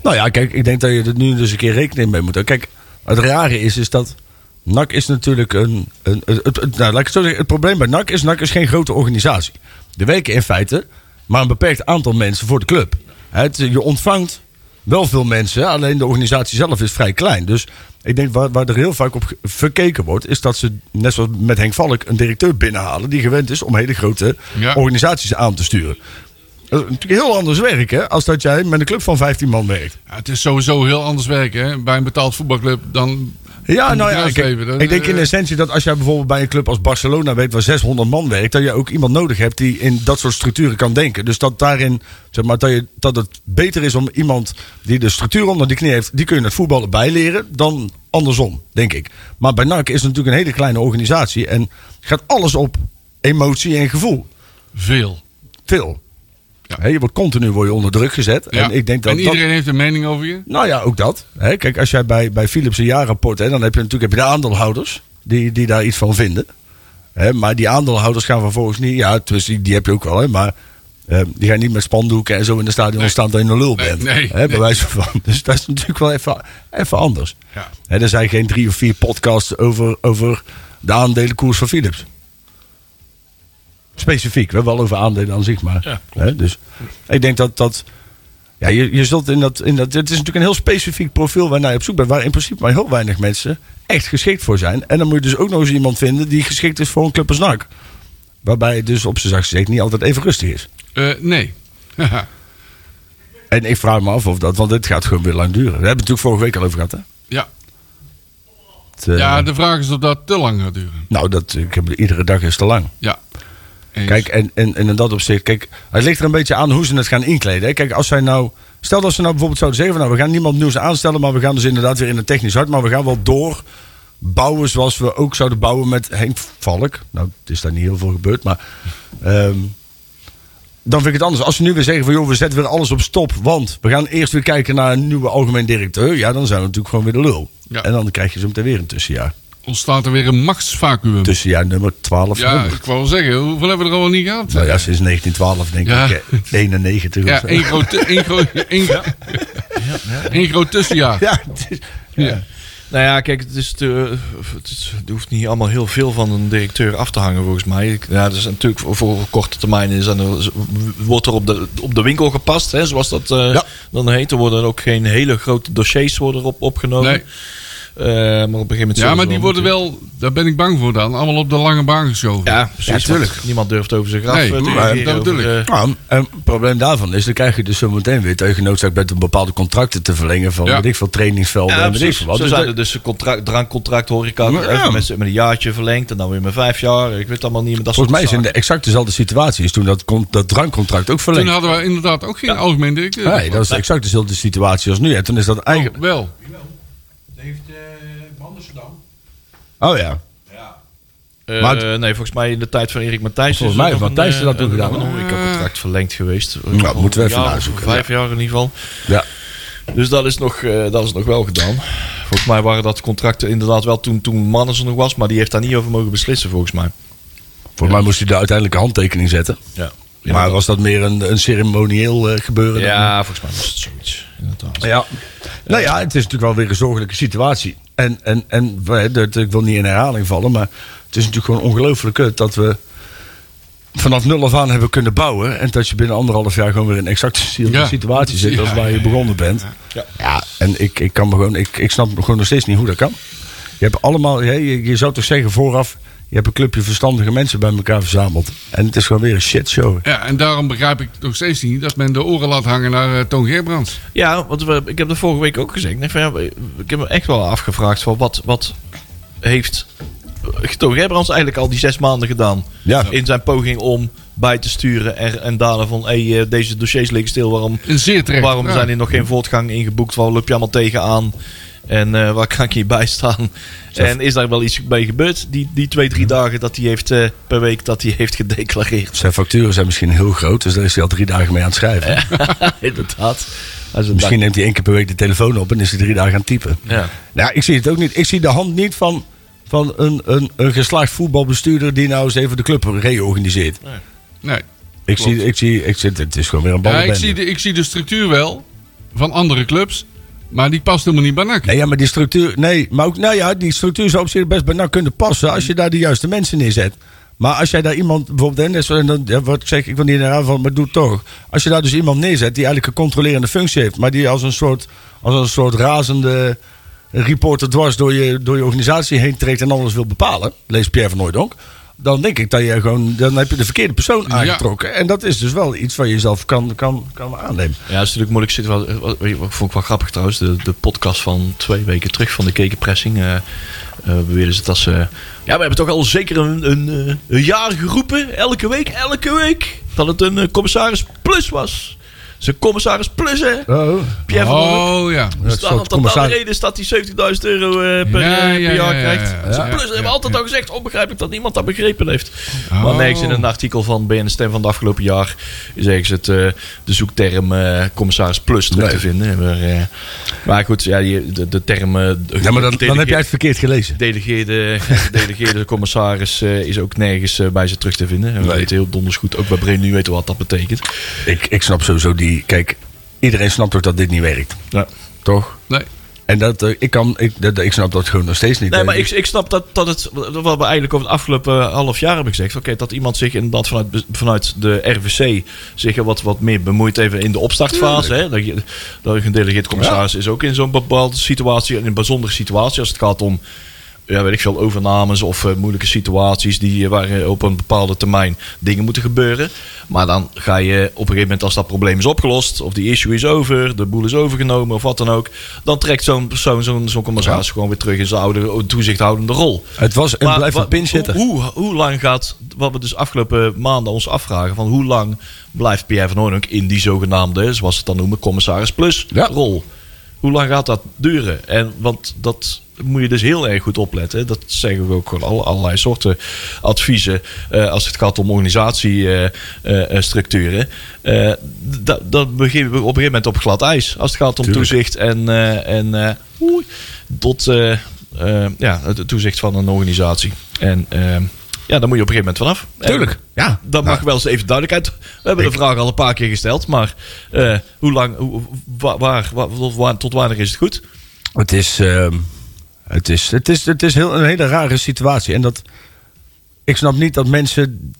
C: Nou ja, kijk, ik denk dat je er nu dus een keer rekening mee moet houden. Kijk, het rare is, is dat NAC is natuurlijk een... een, het- het- het- nou, laat ik het zo zeggen. Het probleem bij NAC is, NAC is geen grote organisatie. Er werken in feite maar een beperkt aantal mensen voor de club. Het, je ontvangt wel veel mensen, alleen de organisatie zelf is vrij klein. Dus ik denk waar, waar er heel vaak op ge- verkeken wordt, is dat ze, net zoals met Henk Valk, een directeur binnenhalen die gewend is om hele grote
D: Ja.
C: organisaties aan te sturen. Dat is natuurlijk heel anders werk, hè? Als dat jij met een club van 15 man werkt.
D: Ja, het is sowieso heel anders werken hè? bij een betaald voetbalclub dan.
C: Ja,
D: Een
C: nou ja,
D: bedrijfsleven,
C: kijk,
D: dat-
C: ik denk in essentie dat als jij bijvoorbeeld bij een club als Barcelona weet waar 600 man werkt, dat je ook iemand nodig hebt die in dat soort structuren kan denken. Dus dat daarin, zeg maar, dat, je, dat het beter is om iemand die de structuur onder de knie heeft, die kun je het voetballen bijleren, dan andersom, denk ik. Maar bij NAC is het natuurlijk een hele kleine organisatie en gaat alles op emotie en gevoel.
D: Veel.
C: Veel.
D: Ja.
C: Hè, je wordt continu word je onder druk gezet.
D: Ja.
C: En ik denk dat
D: en
C: dat-
D: iedereen heeft een mening over je.
C: nou ja, ook dat. Hè? Kijk, als jij bij, bij Philips een jaarrapport... Hè, dan heb je natuurlijk heb je de aandeelhouders die, die daar iets van vinden. Hè? Maar die aandeelhouders gaan vervolgens niet... Ja, dus die, die heb je ook wel, hè, maar... eh, die gaan niet met spandoeken en zo in de stadion staan dat je een lul
D: Nee,
C: bent.
D: nee,
C: hè, bij
D: nee.
C: wijze van. [LAUGHS] Dus dat is natuurlijk wel even, even anders.
D: Ja.
C: Hè, er zijn geen drie of vier podcasts over, over de aandelenkoers van Philips. Specifiek, we hebben wel over aandelen aan zich, maar.
B: Ja,
C: hè, dus ik denk dat dat. Ja, je, je zult in dat, in dat. Het is natuurlijk een heel specifiek profiel waarnaar je op zoek bent. Waar in principe maar heel weinig mensen echt geschikt voor zijn. En dan moet je dus ook nog eens iemand vinden die geschikt is voor een club als NAC. Waarbij het dus op zijn zachtst gezegd niet altijd even rustig is.
D: Eh, nee. [LAUGHS]
C: En ik vraag me af of dat, want dit gaat gewoon weer lang duren. We hebben het natuurlijk vorige week al over gehad, hè?
D: ja.
C: Eh. Het, eh,
D: ja, de vraag is of dat te lang gaat duren.
C: Nou, dat, ik heb, iedere dag is te lang.
D: Ja. Eens.
C: Kijk, en, en, en in dat opzicht, kijk, het ligt er een beetje aan hoe ze het gaan inkleden. Hè. Kijk, als zij nou, stel dat ze nou bijvoorbeeld zouden zeggen: van, nou, we gaan niemand nieuws aanstellen, maar we gaan dus inderdaad weer in een technisch hart, maar we gaan wel door bouwen zoals we ook zouden bouwen met Henk Valk. Nou, het is daar niet heel veel gebeurd, maar ehm, dan vind ik het anders. Als ze nu weer zeggen van joh, we zetten weer alles op stop, want we gaan eerst weer kijken naar een nieuwe algemeen directeur, ja, dan zijn we natuurlijk gewoon weer de lul.
D: Ja.
C: En dan krijg je zo meteen weer een tussenjaar.
D: Ontstaat er weer een machtsvacuüm.
C: Tussenjaar nummer 12.
D: ja, ik wou wel zeggen, hoeveel hebben we er al niet gehad?
C: Nou ja, sinds 1912 denk
D: Ja.
C: ik. eh, 91 of
D: Ja,
C: zo.
D: één
C: [LAUGHS]
D: groot, tu- één groot, één, één groot tussenjaar.
C: Ja, het is-
D: Ja.
B: Nou ja, kijk, het, is te, het, is- er hoeft niet allemaal heel veel van een directeur af te hangen, volgens mij. Ik- Ja, dat is natuurlijk voor, voor korte termijn is dan, wordt er op de, op de winkel gepast, hè, zoals dat eh,
C: Ja.
B: dan heet. Er worden ook geen hele grote dossiers worden op, opgenomen.
D: Nee.
B: Eh, maar op een gegeven moment...
D: Ja,
B: zullen
D: maar
B: ze
D: die
B: wel
D: worden wel, daar ben ik bang voor dan, allemaal op de lange baan geschoven.
B: moeten- Ja, precies.
C: Ja, tuurlijk.
B: want Niemand durft over zich af
D: Nee,
B: eh, te
D: maar-
B: reageren
D: dat bedoel
B: over, eh,
C: Nou, en het probleem daarvan is, dan krijg je dus zo meteen weer dat je genoodzaakt bent om bepaalde contracten te verlengen van
D: Ja.
C: weet ik veel trainingsvelden
B: Ja,
C: en weet ik
B: precies.
C: veel wat.
B: Zo
C: Dus
B: zijn
C: dat-
B: er dus contract, drankcontract, horeca.
D: Ja.
B: even Mensen met een jaartje verlengd en dan weer met vijf jaar. Ik weet het allemaal niet meer. Dat
C: volgens mij
B: soort
C: is in
B: zaken.
C: de exact dezelfde situatie is toen dat, kon- dat drankcontract ook
D: Toen
C: verlengd.
D: hadden we inderdaad ook geen algemeen directeur.
C: Nee, dat is exact dezelfde situatie als nu. En toen is dat
D: Oh,
C: eigenlijk...
D: wel.
C: Oh ja.
B: Eh,
C: Maar het-
B: nee, volgens mij in de tijd van Erik Matthijs.
C: Volgens
B: is
C: mij
B: er
C: heeft
B: nog
C: Matthijs
B: een,
C: dat
B: eh,
C: toen
B: er
C: gedaan,
B: nog Een horecacontract verlengd geweest.
C: Nou, moeten we even
B: Een jaar of
C: nazoeken,
B: Vijf jaar in ieder geval.
C: Ja.
B: Dus dat is, nog, eh, dat is nog wel gedaan. Volgens mij waren dat contracten inderdaad wel toen, toen Mannen er nog was. Maar die heeft daar niet over mogen beslissen volgens mij.
C: Volgens mij moest hij de uiteindelijke handtekening zetten.
B: Ja,
C: Maar was dat meer een, een ceremonieel eh, gebeuren? dan-
B: ja volgens mij was het zoiets. Inderdaad.
C: Ja. Nou ja, het is natuurlijk wel weer een zorgelijke situatie. En, en, en we- dat- ik wil niet in herhaling vallen, maar het is natuurlijk gewoon ongelooflijk kut dat we vanaf nul af aan hebben kunnen bouwen. En dat je binnen anderhalf jaar gewoon weer in exact dezelfde
D: Ja.
C: situatie zit als
D: Ja,
C: waar je begonnen bent. Ja, en ik, ik, kan me gewoon, ik, ik snap gewoon nog steeds niet hoe dat kan. Je hebt allemaal, je, je- je zou toch zeggen vooraf, je hebt een clubje verstandige mensen bij elkaar verzameld. En het is gewoon weer een shitshow.
D: Ja, en daarom begrijp ik nog steeds niet dat men de oren laat hangen naar eh, Toon Gerbrands.
B: Ja, want we, ik heb dat vorige week ook gezegd. Ik, denk van, ja, ik heb me echt wel afgevraagd van wat, wat heeft Toon Gerbrands eigenlijk al die zes maanden gedaan?
C: Ja.
B: In zijn poging om bij te sturen en, en dalen van hey, eh, deze dossiers liggen stil. Waarom,
D: Een zeer terecht.
B: waarom
D: ja.
B: zijn er nog geen voortgang ingeboekt? Waar loop je allemaal tegenaan? En eh, waar kan ik hier bij staan? En is daar wel iets bij gebeurd? Die, die twee, drie dagen dat hij heeft eh, per week dat hij heeft gedeclareerd. [LAUGHS]
C: Zijn facturen zijn misschien heel groot, dus daar is hij al drie dagen mee aan het schrijven. [LAUGHS]
B: Inderdaad. Dat is een
C: Dus Misschien neemt hij één keer per week de telefoon op en is hij drie dagen aan het typen.
B: dag- Ja.
C: Nou, ik zie het ook niet. Ik zie de hand niet van, van een, een, een geslaagd voetbalbestuurder die nou eens even de club reorganiseert.
D: Nee.
C: Ik zie, ik zie, ik zit, het is gewoon weer een
D: Ja, ik,
C: ballenbende.
D: zie de, ik zie de structuur wel van andere clubs, maar die past helemaal niet bij NAC.
C: Nee, ja, maar die structuur, nee, maar ook, nou ja, die structuur zou op zich best bij NAC kunnen passen als je daar de juiste mensen neerzet. Maar als jij daar iemand, bijvoorbeeld, en dat is- en dan, ja, wat ik zeg, ik wil niet naar van, maar doe het toch. Als je daar dus iemand neerzet die eigenlijk een controlerende functie heeft, maar die als een soort, als een soort razende reporter dwars door je, door je organisatie heen trekt en alles wil bepalen, lees Pierre van Hooijdonk, dan denk ik dat je gewoon, dan heb je de verkeerde persoon aangetrokken. En dat is dus wel iets waar je jezelf kan, kan, kan aannemen.
B: Ja, het is natuurlijk moeilijk zitten. Wat, wat, weet je, wat vond ik wel grappig trouwens. De, de podcast van twee weken terug van de Kekenpressing. eh eh, beweerden ze dat ze. Ja, we hebben toch al zeker een, een, eh, een jaar geroepen. Elke week, elke week. Dat het een eh, commissaris plus was. Het is een commissaris plus, hè?
C: Oh,
B: Pierre van der Hoek.
D: Oh ja.
C: dat
B: Dus
C: is
B: dan
C: een soort
B: dat dat de
C: commissaris-
B: reden is dat hij 70.000 euro eh, per,
D: Ja,
B: eh, per
D: ja,
B: jaar
D: ja, ja,
B: krijgt.
D: ja,
B: Dat is een
D: ja,
B: plus.
D: ja,
B: We hebben
D: ja,
B: altijd
D: ja.
B: al gezegd, onbegrijpelijk dat niemand dat begrepen heeft. Maar
D: Oh.
B: nergens in een artikel van BN Stem van het afgelopen jaar is ergens het, eh, de zoekterm eh, commissaris plus terug
C: Nee.
B: te vinden. Maar, eh, maar goed, ja, die, de, de term... eh, de-
C: ja, maar dan, dan heb jij
B: gedelegeerde-
C: het verkeerd gelezen.
B: Gedelegeerde,
D: [LAUGHS]
B: gedelegeerde commissaris eh, is ook nergens eh, bij ze terug te vinden. En we
C: Nee.
B: weten heel donders goed, ook bij Brain nu weten we wat dat betekent.
C: Ik, ik snap sowieso die. Kijk, iedereen snapt ook dat dit niet werkt.
B: Ja.
C: Toch?
D: Nee.
C: En dat, eh, ik, kan, ik, dat, ik snap dat gewoon nog steeds niet.
B: Nee,
C: Eh,
B: maar
C: dus-
B: ik, ik snap dat, dat het, wat we eigenlijk over het afgelopen eh, half jaar hebben gezegd. Oké, dat iemand zich inderdaad vanuit, vanuit de RVC zich er wat, wat meer bemoeit even in de opstartfase. Hè? Dat, je, dat een gedelegeerd commissaris is ook in zo'n bepaalde situatie, en in een bijzondere situatie als het gaat om ja, weet ik veel, overnames of eh, moeilijke situaties die, eh, waar eh, op een bepaalde termijn dingen moeten gebeuren. Maar dan ga je op een gegeven moment, als dat probleem is opgelost, of die issue is over, de boel is overgenomen of wat dan ook, dan trekt zo'n persoon, zo'n zo'n commissaris gewoon weer terug in zijn oude toezichthoudende rol.
C: het was en
B: Maar
C: blijft
B: wa-
C: een pin zitten.
B: Hoe, hoe, hoe lang gaat, wat we dus afgelopen maanden ons afvragen, van hoe lang blijft Pierre van Hoornhoek in die zogenaamde, zoals ze het dan noemen, commissaris plus
C: Ja.
B: rol? Hoe lang gaat dat duren? En, want dat moet je dus heel erg goed opletten. hè. Dat zeggen we ook gewoon alle, allerlei soorten adviezen eh, als het gaat om organisatiestructuren. Eh, dat beginnen we op een gegeven moment op glad ijs. Als het gaat om toezicht en, eh, en eh, oei, tot eh, eh, ja, het toezicht van een organisatie. En eh, ja, daar moet je op een gegeven moment vanaf.
C: Tuurlijk,
B: En
C: ja.
B: Dat
D: Nou.
B: mag wel eens even duidelijkheid. We hebben de vraag al een paar keer gesteld, maar eh, hoe lang, hoe, wa- waar, wa- tot waar- tot wanneer is het goed?
C: Het is, ehm, het is, het is, het is heel, een hele rare situatie. En dat, ik snap niet dat mensen,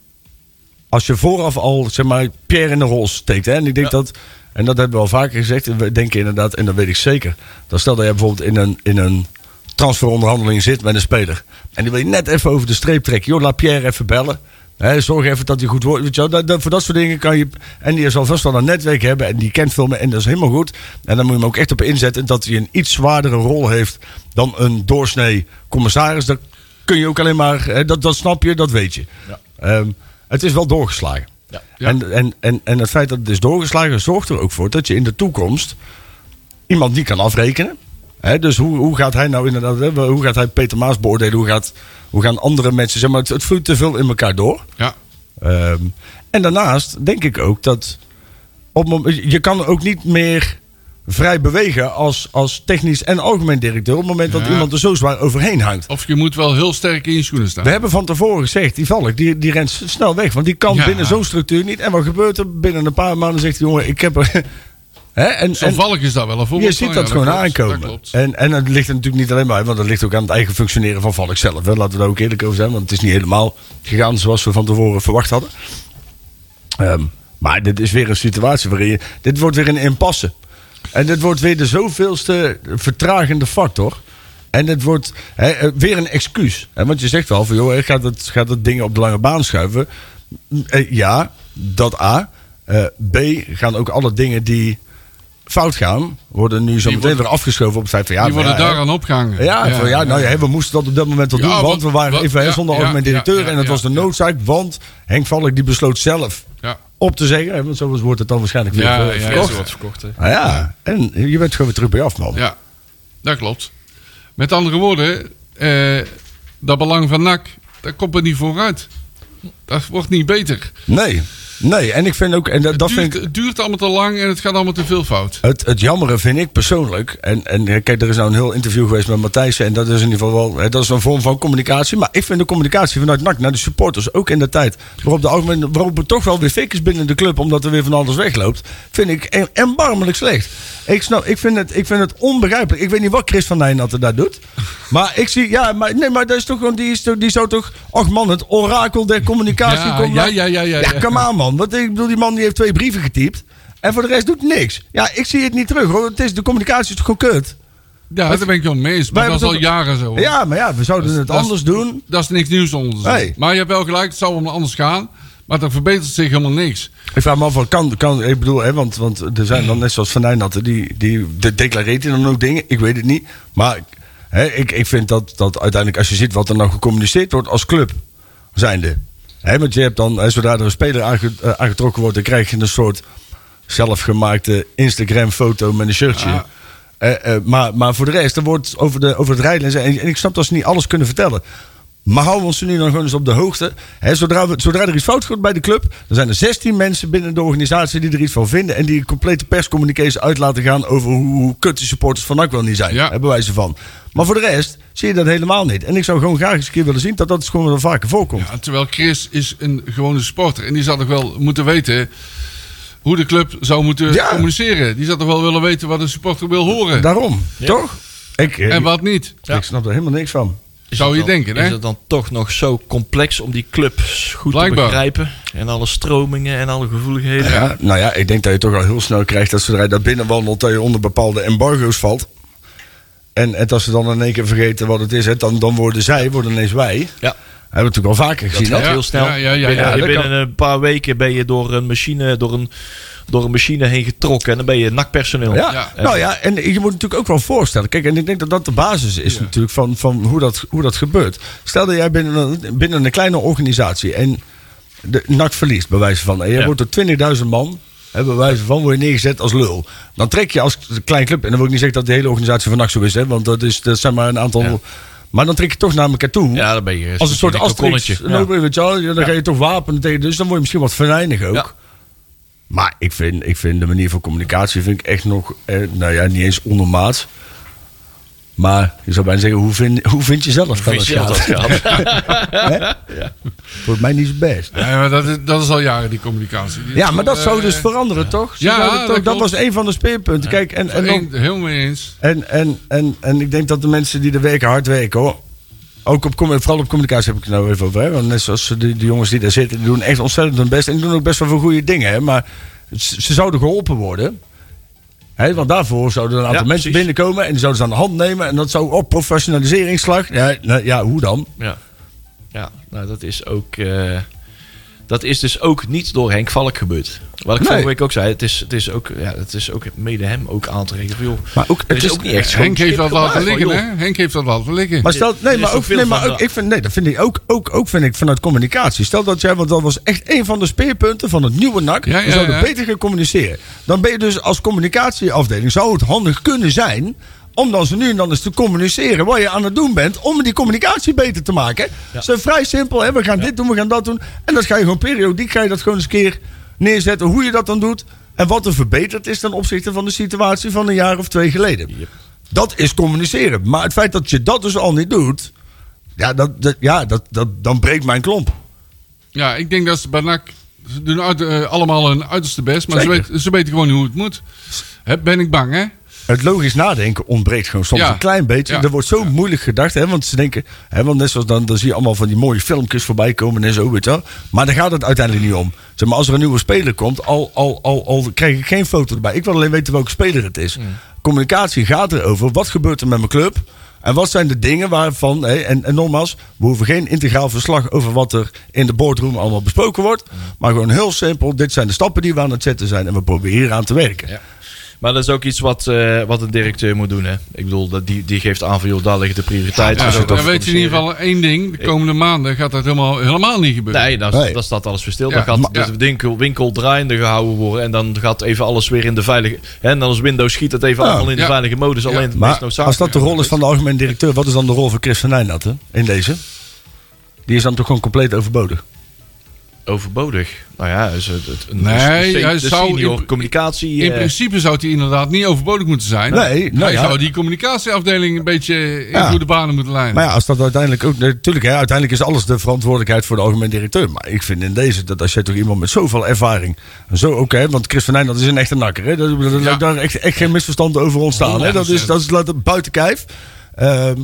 C: als je vooraf al, zeg maar, Pierre in de rol steekt. Hè, en ik denk
B: Ja.
C: dat, en dat hebben we al vaker gezegd, en we denken inderdaad, en dat weet ik zeker. Dan stel dat je bijvoorbeeld in een, in een transferonderhandeling zit met een speler. En die wil je net even over de streep trekken. Joh, laat Pierre even bellen. Hè, zorg even dat hij goed wordt. Weet je wel, dat, dat- voor dat soort dingen kan je. En die zal vast wel een netwerk hebben. En die kent veel meer. En dat is helemaal goed. En dan moet je hem ook echt op inzetten. Dat hij een iets zwaardere rol heeft dan een doorsnee commissaris. Dat kun je ook alleen maar. hè, dat, dat snap je, dat weet je. Ehm, het is wel doorgeslagen.
D: Ja.
C: En, en, en, en het feit dat het is doorgeslagen zorgt er ook voor dat je in de toekomst iemand niet kan afrekenen. Hè, dus hoe, hoe gaat hij nou inderdaad, hè, hoe gaat hij Peter Maas beoordelen? Hoe, gaat, hoe gaan andere mensen, zeg maar, het, het vloeit te veel in elkaar door.
D: Ja.
C: Ehm, en daarnaast denk ik ook dat op het moment- je kan ook niet meer vrij bewegen als, als technisch en algemeen directeur op het moment dat
D: Ja.
C: iemand er zo zwaar overheen hangt.
D: Of je moet wel heel sterk in je schoenen staan.
C: We hebben van tevoren gezegd, die Valk, die, die rent s- snel weg. Want die kan
D: Ja.
C: binnen zo'n structuur niet. En wat gebeurt er? Binnen een paar maanden zegt hij, jongen, ik heb er... [LAUGHS] Hè? En,
D: Zo'n
C: en
D: valk is daar wel een
C: je
D: voorbeeld
C: ziet
D: van,
C: dat
D: ja,
C: gewoon
D: klopt,
C: aankomen.
D: Dat klopt.
C: En, en dat ligt er natuurlijk niet alleen maar, want dat ligt ook aan het eigen functioneren van Valk zelf. Hè? Laten we daar ook eerlijk over zijn, want het is niet helemaal gegaan zoals we van tevoren verwacht hadden. Ehm, maar dit is weer een situatie waarin je... Dit wordt weer een impasse. En dit wordt weer de zoveelste vertragende factor. En het wordt hè, eh, weer een excuus. Hè, want je zegt wel van, joh, hè, gaat dat, gaat dat ding op de lange baan schuiven? Mm, eh, Ja, dat A. Eh, B, gaan ook alle dingen die fout gaan... worden nu zo
D: Die
C: meteen
D: worden-
C: weer afgeschoven op het feit van... Ja,
D: die
C: maar
D: worden
C: ja, hè.
D: daaraan opgehangen.
C: Ja, van, ja, nou ja, hè, we moesten dat op dat moment wel
D: Ja,
C: doen. Want,
D: want-
C: we waren
D: want-
C: even hè,
D: ja,
C: zonder
D: ja,
C: algemeen directeur.
D: ja, ja,
C: en dat
D: ja,
C: was de
D: ja.
C: noodzaak. Want Henk Valk die besloot zelf
D: Ja.
C: op te zeggen. hè, Want zo wordt het dan waarschijnlijk weer
D: Ja,
C: eh,
D: ja, ja,
C: verkocht.
D: zo wordt
B: verkocht.
C: Ah ja, en je bent gewoon weer terug bij af, man.
D: Ja, dat klopt. Met andere woorden, eh, dat belang van NAC, daar komt er niet vooruit. Dat wordt niet beter.
C: Nee, nee. En ik vind ook... En dat, dat
D: het, duurt,
C: vind ik,
D: het duurt allemaal te lang en het gaat allemaal te veel fout.
C: het, het jammere vind ik persoonlijk. En, en eh, kijk, er is nou een heel interview geweest met Matthijssen. En dat is in ieder geval wel... hè, dat is een vorm van communicatie. Maar ik vind de communicatie vanuit NAC naar de supporters... ook in de tijd waarop, de, algemene- waarop er toch wel weer fik is binnen de club... omdat er weer van alles wegloopt... vind ik en- erbarmelijk slecht. Ik, snap, ik, vind het, ik vind het onbegrijpelijk. Ik weet niet wat Chris van Nijnatten daar doet. Maar ik zie... Ja, maar, nee, maar dat is toch gewoon... Die, is, toch- die zou toch... Ach man, het orakel der communicatie...
D: Ja,
C: komt
D: ja,
C: naar-
D: ja, ja, ja, ja.
C: come on, Ah, man. Want ik bedoel, die man die heeft twee brieven getypt. En voor de rest doet niks. Ja, ik zie het niet terug hoor. Het is, de communicatie is toch gewoon kut?
D: Ja, daar ben ik wel mee eens.
C: Wij
D: Maar dat is al
C: hebben het
D: jaren zo. hoor.
C: Ja, maar ja, we zouden het
D: dat is-
C: anders doen.
D: Dat is niks nieuws onder ons.
C: Nee.
D: Maar je hebt wel gelijk, het zou allemaal anders gaan. Maar er verbetert zich helemaal niks.
C: Ik vraag me af, wat kan, kan, ik bedoel, hè, want, want er zijn dan net zoals Van Nijnatten, die, die de- declareert hij dan ook dingen. Ik weet het niet. Maar hè, ik, ik vind dat, dat uiteindelijk, als je ziet wat er nou gecommuniceerd wordt als club zijnde. Hè, want je hebt dan, hè, zodra er een speler aange- eh, aangetrokken wordt, dan krijg je een soort zelfgemaakte Instagram-foto met een shirtje.
D: Ja.
C: Eh, eh, maar, maar voor de rest, er wordt over, de, over het rijden. En, en ik snap dat ze niet alles kunnen vertellen. Maar houden we ons nu dan gewoon eens op de hoogte. Hè, zodra, we, zodra er iets fout gaat bij de club, dan zijn er 16 mensen binnen de organisatie die er iets van vinden. En die complete perscommunicaties uit laten gaan over hoe, hoe kut de supporters van NAC wel niet zijn.
D: Ja.
C: Hebben wij ze van. Maar voor de rest zie je dat helemaal niet. En ik zou gewoon graag eens een keer willen zien dat dat gewoon wel vaker voorkomt.
D: Ja, terwijl Chris is een gewone sporter. En die zou toch wel moeten weten hoe de club zou moeten
C: Ja.
D: communiceren. Die zou toch wel willen weten wat een supporter wil horen.
C: Daarom, toch? Ik, eh,
D: en wat niet.
C: ik snap er helemaal niks van.
B: Is
D: Zou
B: het
D: je
B: dan-
D: denken, hè?
B: Is het dan toch nog zo complex om die clubs goed te
D: Blijkbaar.
B: begrijpen? En alle stromingen en alle gevoeligheden.
C: Ja, nou ja, ik denk dat je toch al heel snel krijgt dat zodra je daar binnen wandelt, dat je onder bepaalde embargo's valt. En, en dat ze dan in één keer vergeten wat het is, hè, dan, dan worden zij, worden ineens wij.
B: Ja.
C: Hebben we natuurlijk al vaker gezien.
B: Dat
C: hè?
D: Ja,
B: heel snel.
D: ja, ja, ja,
B: binnen
D: ja,
C: dat
B: binnen
C: kan.
B: een paar weken ben je door een machine, door een, door een machine heen getrokken. En dan ben je nakpersoneel.
C: Ja.
D: Ja.
C: nou ja, en je moet natuurlijk ook wel voorstellen. Kijk, en ik denk dat dat de basis is natuurlijk van, van hoe, dat, hoe dat gebeurt. Stel dat jij binnen een, binnen een kleine organisatie en de NAC verliest, bij wijze van. En jij
B: Ja.
C: wordt door 20.000 man, hè, bij wijze van, word je neergezet als lul. Dan trek je als klein club, en dan wil ik niet zeggen dat de hele organisatie van NAC zo is, hè, want dat, is, dat zijn maar een aantal... Maar dan trek je toch naar elkaar toe.
B: Ja, dan ben je
C: als een soort
B: een
C: asterix.
B: kokonnetje.
C: Een open- Nou, weet je wel, Dan ga je toch wapenen tegen. Dus dan word je misschien wat venijnig ook.
B: Ja.
C: Maar ik vind, ik vind de manier van communicatie vind ik echt nog, eh, nou ja, niet eens ondermaats. Maar je zou bijna zeggen, hoe vind, hoe vind je zelf dat
B: Vind
C: het
B: je dat
C: gaat? [LAUGHS] Hè? Volgens mij niet het best.
D: Nee, maar dat, is, dat is al jaren die communicatie. Die
C: Ja,
D: is
C: maar
D: toch,
C: dat zou
D: eh,
C: dus veranderen, toch? Ze
D: ja,
C: zouden
D: dat
C: toch dat,
D: klopt.
C: was een van de speerpunten. Kijk, en, en, dan,
D: Eén- Helemaal mee eens.
C: en, en, en, en ik denk dat de mensen die er werken hard werken, hoor. Ook op, commu- vooral op communicatie heb ik het nou even over. Hè? Want net zoals de, de jongens die daar zitten, die doen echt ontzettend hun best. En die doen ook best wel veel goede dingen. Hè? Maar ze, ze zouden geholpen worden. Hè? Want daarvoor zouden er een aantal
B: Ja,
C: mensen
B: precies.
C: binnenkomen. En die zouden ze aan de hand nemen. En dat zou op professionaliseringsslag. Ja, nou, ja, hoe dan?
B: Ja, ja nou, dat is ook. eh, dat is dus ook niet door Henk Valk gebeurd. Wat ik
C: Nee.
B: vorige week ook zei, het is, het is, ook, ja, het is ook mede hem ook aan te rekenen. van, joh,
C: Maar ook-
B: er
C: het is-
B: schoon
D: Henk heeft
B: schip
D: dat laten
B: gemaakt, van,
D: liggen,
B: joh.
D: hè? Henk heeft dat laten liggen.
C: Maar stel,
B: Er
C: nee,
B: is
C: maar
B: nog
C: ook,
B: veel
C: nee, maar
B: van
C: ook,
B: de-
C: ik vind, nee, dat vind ik ook, ook, ook vind ik vanuit communicatie. Stel dat jij, want dat was echt een van de speerpunten van het nieuwe NAC.
D: Ja,
C: we
D: ja,
C: zouden
D: ja.
C: beter gaan communiceren. Dan ben je dus als communicatieafdeling, zou het handig kunnen zijn om dan zo nu en dan eens te communiceren wat je aan het doen bent, om die communicatie beter te maken. Het is vrij simpel, hè? we gaan dit doen, we gaan dat doen. En dat ga je gewoon periodiek, ga je dat gewoon eens een keer neerzetten, hoe je dat dan doet. En wat er verbeterd is ten opzichte van de situatie van een jaar of twee geleden. Dat is communiceren. Maar het feit dat je dat dus al niet doet. Ja, dat, dat- ja dat, dat, dan breekt mijn klomp.
D: Ja, ik denk dat ze bij NAC... Ze doen uit- eh, allemaal hun uiterste best, maar ze,
C: Zeker.
D: weet- ze weten gewoon hoe het moet. Hè, ben ik bang, hè?
C: Het logisch nadenken ontbreekt gewoon soms
D: Ja.
C: een klein beetje.
D: Ja.
C: Er wordt zo moeilijk gedacht, hè, want ze denken, hè, want net zoals dan, dan zie je allemaal van die mooie filmpjes voorbij komen en zo, weet je wel. Maar daar gaat het uiteindelijk niet om. Zeg maar, als er een nieuwe speler komt, al, al, al, al krijg ik geen foto erbij. Ik wil alleen weten welke speler het
D: Hmm.
C: is. Communicatie gaat erover, wat gebeurt er met mijn club? En wat zijn de dingen waarvan, hè, en, en nogmaals, we hoeven geen integraal verslag over wat er in de boardroom allemaal besproken wordt.
D: Hmm.
C: Maar gewoon heel simpel, dit zijn de stappen die we aan het zetten zijn en we proberen hier aan te werken.
B: Ja. Maar dat is ook iets wat, eh, wat een directeur moet doen. Hè? Ik bedoel, dat, die, die geeft aan van joh, daar liggen de prioriteiten.
D: Ja,
B: Dus ook
D: dan
B: dat
D: weet je in ieder
B: communiceren.
D: geval één ding. De komende maanden gaat dat helemaal, helemaal niet gebeuren.
B: Nee, dan,
C: Nee.
B: dan staat alles weer stil.
D: Ja,
B: dan gaat
D: maar-
B: de winkel, winkel draaiende gehouden worden. En dan gaat even alles weer in de veilige... Hè, en dan als Windows schiet het even
C: Ja.
B: allemaal in de
D: Ja.
B: veilige modus. Alleen het meest
C: Maar
B: noodzakelijke.
C: als dat de rol is van de algemeen directeur, wat is dan de rol van Chris van Nijnat hè, in deze? Die is dan toch gewoon compleet overbodig?
B: overbodig. Nou ja, is het, het- een,
D: Nee,
B: een- een-
D: hij
B: de
D: zou
B: senior
D: in-
B: communicatie.
D: In
B: eh,
D: principe zou die inderdaad niet overbodig moeten zijn.
C: Nee, nou
D: Hij
C: ja.
D: zou die communicatieafdeling een beetje in
C: Ja.
D: goede banen moeten leiden.
C: Maar ja, als dat uiteindelijk ook. Natuurlijk, hè, uiteindelijk is alles de verantwoordelijkheid voor de algemeen directeur. Maar ik vind in deze dat als je toch iemand met zoveel ervaring. en Zo ook, hè, want Chris van Nijnat is een echte nakker. Hè, dat, dat-
D: Ja.
C: Daar echt, echt geen misverstand over ontstaan. Hè, dat is, dat is laat- buiten kijf. Ehm,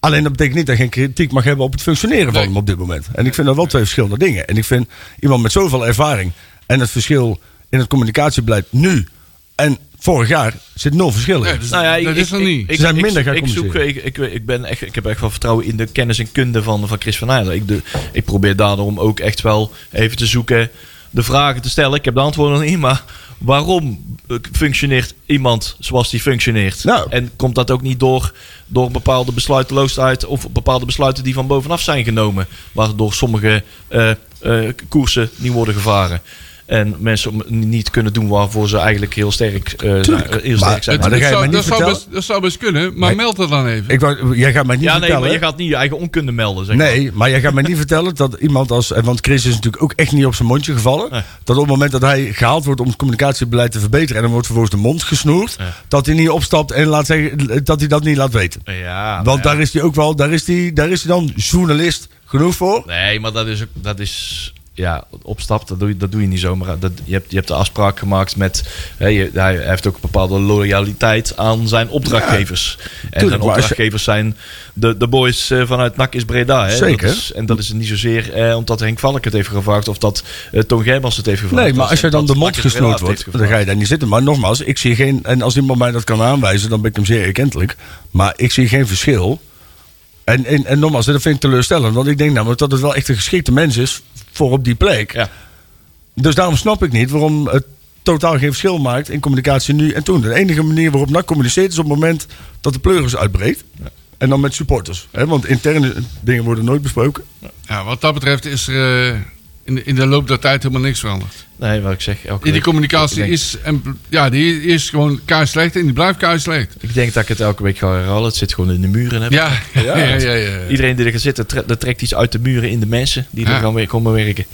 C: alleen dat betekent niet dat je geen kritiek mag hebben op het functioneren van
D: Nee.
C: hem op dit moment. En ik vind dat wel twee verschillende dingen. En ik vind iemand met zoveel ervaring. en het verschil in het communicatiebeleid nu en vorig jaar zit nul verschil in.
D: Nee, dus
B: nou ja, ik-
D: dat
B: ik-
D: is er
B: ik-
D: niet.
B: Ik,
C: Ze zijn
B: ik-
C: minder gaan
B: ik, zoek, ik, ik, ik, ben echt, ik heb echt wel vertrouwen in de kennis en kunde van, van Chris van Heijden. Ik, doe- ik probeer daarom ook echt wel even te zoeken, de vragen te stellen. Ik heb de antwoorden nog niet, maar waarom eh, functioneert iemand zoals die functioneert?
C: Nou.
B: En komt dat ook niet door, door bepaalde besluiteloosheid of bepaalde besluiten die van bovenaf zijn genomen, waardoor sommige eh, eh, koersen niet worden gevaren? En mensen om- niet kunnen doen waarvoor ze eigenlijk heel sterk, eh, heel
C: maar-
B: sterk zijn.
C: Maar dat ga je
D: zou-
C: mij niet
D: dat, zou
C: vertellen.
D: best, dat zou best kunnen, maar meld dat dan even.
C: Ik wou, jij gaat mij niet
B: Ja, nee,
C: vertellen.
B: maar je gaat niet je eigen onkunde melden. Zeg
C: Nee, maar jij gaat mij
B: [LAUGHS]
C: niet vertellen dat iemand als. eh, Want Chris is natuurlijk ook echt niet op zijn mondje gevallen.
B: Nee.
C: Dat op het moment dat hij gehaald wordt om het communicatiebeleid te verbeteren. en dan wordt vervolgens de mond gesnoerd.
B: Ja.
C: dat hij niet opstapt en laat zeggen, dat hij dat niet laat weten.
B: maar. Ja,
C: Want
B: nou
C: daar is hij ook wel. daar is hij, daar is hij dan journalist genoeg voor.
B: ja. Nee, maar dat is, ook- dat is ja, opstapt, dat doe je, dat doe je niet zomaar. Dat, je, hebt, je hebt de afspraak gemaakt met. Hè, je- hij heeft ook een bepaalde loyaliteit aan zijn opdrachtgevers. en
C: tuurlijk,
B: zijn
C: maar als je-
B: opdrachtgevers zijn de, de boys eh, vanuit NAC is Breda. Hè?
C: Zeker.
B: Dat is, en dat is niet zozeer eh, omdat Henk Valk het heeft gevraagd of dat eh, Toon Gerbrands het heeft gevraagd.
C: Nee, maar
B: Dat
C: als
B: is
C: je dan de
B: omdat
C: mond
B: NAC is Breda
C: gesnoerd
B: het
C: wordt,
B: heeft
C: dan ga
B: gevraagd.
C: je daar niet zitten. Maar nogmaals, ik zie geen. En als iemand mij dat kan aanwijzen, dan ben ik hem zeer erkentelijk. Maar ik zie geen verschil. En, en, en nogmaals, dat vind ik teleurstellend. Want ik denk namelijk dat het wel echt een geschikte mens is voor op die plek.
B: Ja.
C: Dus daarom snap ik niet waarom het totaal geen verschil maakt in communicatie nu en toen. De enige manier waarop NAC communiceert is op het moment dat de pleuris uitbreekt. En dan met supporters. Hè? Want interne dingen worden nooit besproken.
D: Ja, wat dat betreft is er eh, in, de, in de loop der tijd helemaal niks veranderd.
B: Nee, wat ik zeg. elke
D: Ja, die
B: week- ik
D: communicatie
B: denk-
D: is, en, bl- ja, die is gewoon slecht en die blijft keislecht.
B: Ik denk dat ik het elke week ga herhalen. Het zit gewoon in de muren. Hè?
D: Ja, ja, ja. ja, ja.
B: Iedereen die er gaat zitten, tre- dat trekt iets uit de muren in de mensen die
D: Ja.
B: er gaan weer komen werken.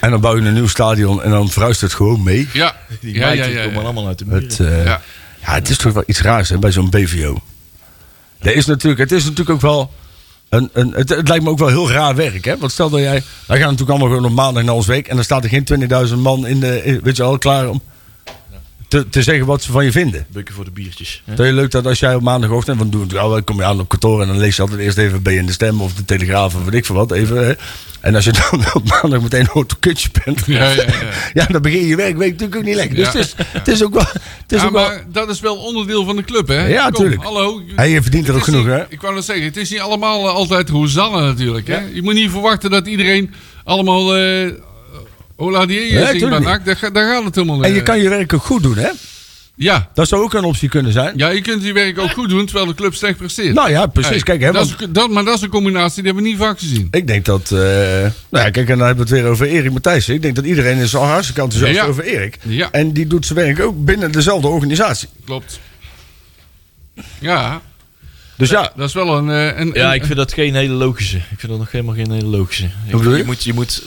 C: En dan bouw je een nieuw stadion en dan verhuist het gewoon mee.
D: Ja,
B: Die
D: ja,
B: meiden
D: ja, ja,
B: komen
D: ja.
B: allemaal uit de muren.
C: Het, eh,
D: Ja.
C: Ja, het is toch wel iets raars hè, bij zo'n BVO. Er is natuurlijk, het is natuurlijk ook wel. Een, een, het, het lijkt me ook wel heel raar werk. Hè? Want stel dat jij. Wij gaan natuurlijk allemaal gewoon op maandag naar ons week. En dan staat er geen 20.000 man in de. in- weet je al, klaar om te, te zeggen wat ze van je vinden.
B: Bukken voor de biertjes. hè?
C: Het is heel leuk dat als jij op maandagochtend. Want doen, ja, dan kom je aan op kantoor. En dan lees je altijd eerst even bij in de stem. Of de telegraaf. Of weet ik veel wat. Even, hè. En als je dan [LAUGHS] op maandag meteen een kutje bent.
D: Ja, ja, ja.
C: [LAUGHS] ja, dan begin je werkweek natuurlijk ook niet lekker. Dus
D: Ja.
C: het, is, het is ook wel. Het is
D: Ja,
C: ook wel
D: maar dat is wel onderdeel van de club, hè?
C: Ja,
D: Kom,
C: tuurlijk.
D: Hallo.
C: En je verdient er
D: Het
C: ook
D: is
C: genoeg,
D: niet-
C: hè?
D: Ik wou nog zeggen, het is niet allemaal eh, altijd Rosanne natuurlijk, hè? Je moet niet verwachten dat iedereen allemaal... eh Hola die
C: Nee,
D: zingt bij
C: tuurlijk
D: NAC. Daar, ga- daar gaat het helemaal
C: En je
D: eh,
C: kan je werk ook goed doen, hè?
D: Ja.
C: Dat zou ook een optie kunnen zijn.
D: ja, je kunt je werk ook goed doen, terwijl de club slecht presteert.
C: Nou ja, precies. Kijk, hè,
D: dat is
C: want
D: een- dat, maar dat is een combinatie die hebben we niet vaak gezien.
C: ik denk dat... eh, nou ja, kijk, en dan hebben we het weer over Erik Matthijssen. Ik denk dat iedereen is al hartstikke enthousiast
D: Ja.
C: over Erik.
D: Ja.
C: En die doet zijn werk ook binnen dezelfde organisatie.
D: Klopt. Ja,
C: Dus ja,
D: dat is wel een... eh, een
B: Ja,
D: een-
B: ik vind dat geen hele logische. Ik vind dat nog helemaal geen hele logische.
C: Hoe bedoel je?
B: moet, je moet,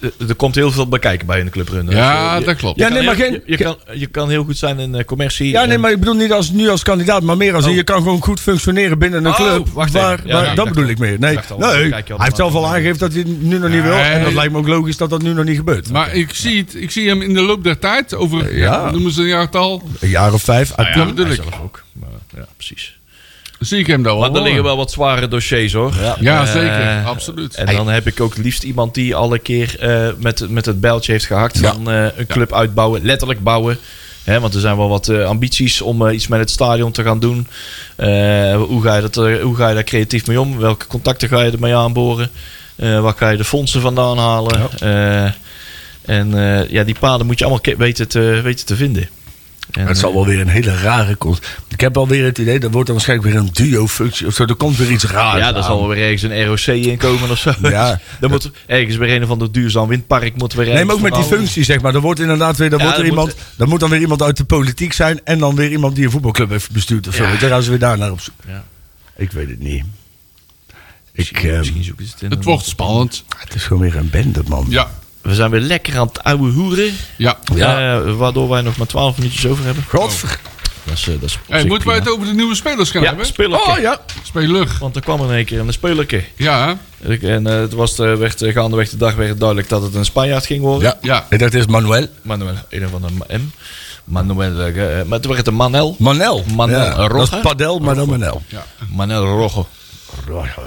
B: eh, er komt heel veel bij kijken bij een clubrunner.
D: ja
B: Dus, eh, Je-
D: dat klopt.
C: Ja,
B: je
C: nee,
B: kan
C: maar
B: heel-
C: geen-
B: Je, je kan, je kan heel goed zijn in eh, commercie.
C: ja, nee,
B: en-
C: maar ik bedoel niet als, nu als kandidaat, maar meer als in, je kan gewoon goed functioneren binnen een
B: Oh,
C: club.
B: wacht even.
C: waar,
B: Ja,
C: waar-
B: ja, ik
C: dat
B: dacht
C: bedoel
B: al.
C: ik meer.
B: Ik
C: Nee,
B: dacht al,
C: nee.
B: kijk je
C: hij
B: allemaal
C: heeft zelf al
B: aan.
C: aangegeven dat hij het nu nog niet wil. En dat
D: Nee.
C: lijkt me ook logisch dat dat nu nog niet gebeurt.
D: Maar ik zie, het, ik zie hem in de loop der tijd, over
C: ja.
D: noemen ze een jaartal,
C: Een jaar of vijf. uit
D: ja,
C: club.
B: Hij
D: natuurlijk.
B: zelf ook. Maar, ja, precies.
D: zie ik hem daar wel.
B: Maar er liggen
D: hoor.
B: wel wat zware dossiers hoor.
D: Oh. Ja,
B: Eh,
D: zeker. Absoluut.
B: En dan heb ik ook liefst iemand die alle keer eh, met, met het bijltje heeft gehakt
C: Ja.
B: van eh, een club uitbouwen, letterlijk bouwen. hè want er zijn wel wat eh, ambities om eh, iets met het stadion te gaan doen. Eh, hoe, ga je dat, eh, hoe ga je daar creatief mee om? Welke contacten ga je ermee aanboren? Eh waar ga je de fondsen vandaan halen? Eh, en eh, ja, die paden moet je allemaal ke- weten te, weten te vinden. En, eh,
C: Het zal wel weer een hele rare komst. Ik heb alweer het idee, dat wordt dan waarschijnlijk weer een duo-functie of zo. Er komt weer iets raars.
B: eh, Ja, daar
C: aan.
B: zal wel weer ergens een ROC in komen of zo.
C: Ja.
B: [LAUGHS] Dan moet ergens weer een of ander duurzaam windpark moet weer
C: Nee, maar ook
B: ergens
C: met die
B: verbouwen.
C: functie, zeg maar. Er wordt inderdaad weer, dan
B: Ja,
C: wordt er
B: er moet-
C: iemand, dan moet dan weer iemand uit de politiek zijn. En dan weer iemand die een voetbalclub heeft bestuurd of zo.
B: Ja.
C: Weet je, Dan gaan ze weer daar naar op zoek.
B: Ja.
C: Ik weet het niet. Ik,
B: Misschien,
C: ehm,
B: misschien zoeken ze het in.
D: Het
B: een-
D: wordt spannend.
C: het is gewoon weer een bende, man.
D: Ja,
B: We zijn weer lekker aan het ouwe hoeren.
D: ja.
C: Ja.
B: Eh, waardoor wij nog maar 12 minuutjes over hebben.
C: Godver.
B: Dat is, eh, dat is op
D: Hey,
B: zich
D: moeten wij
B: prima.
D: het over de nieuwe spelers gaan
B: Ja,
D: hebben?
B: spelerke.
C: Oh ja.
D: Speler.
B: Want er kwam in één keer een spelerke.
D: Ja,
B: Ik- En eh, het was, eh, werd, eh, gaandeweg de dag werd duidelijk dat het een Spanjaard ging worden.
C: ja.
D: ja.
C: Ik dacht eerst Manuel.
B: Manuel, een van de M. Manuel, eh, eh, maar toen werd het een Manel.
C: Manel.
B: Manel,
C: Ja.
B: een
C: Dat is
B: Rogge.
C: Padel, maar dan Manel.
D: ja.
B: Manel Rojo.
C: Rogge.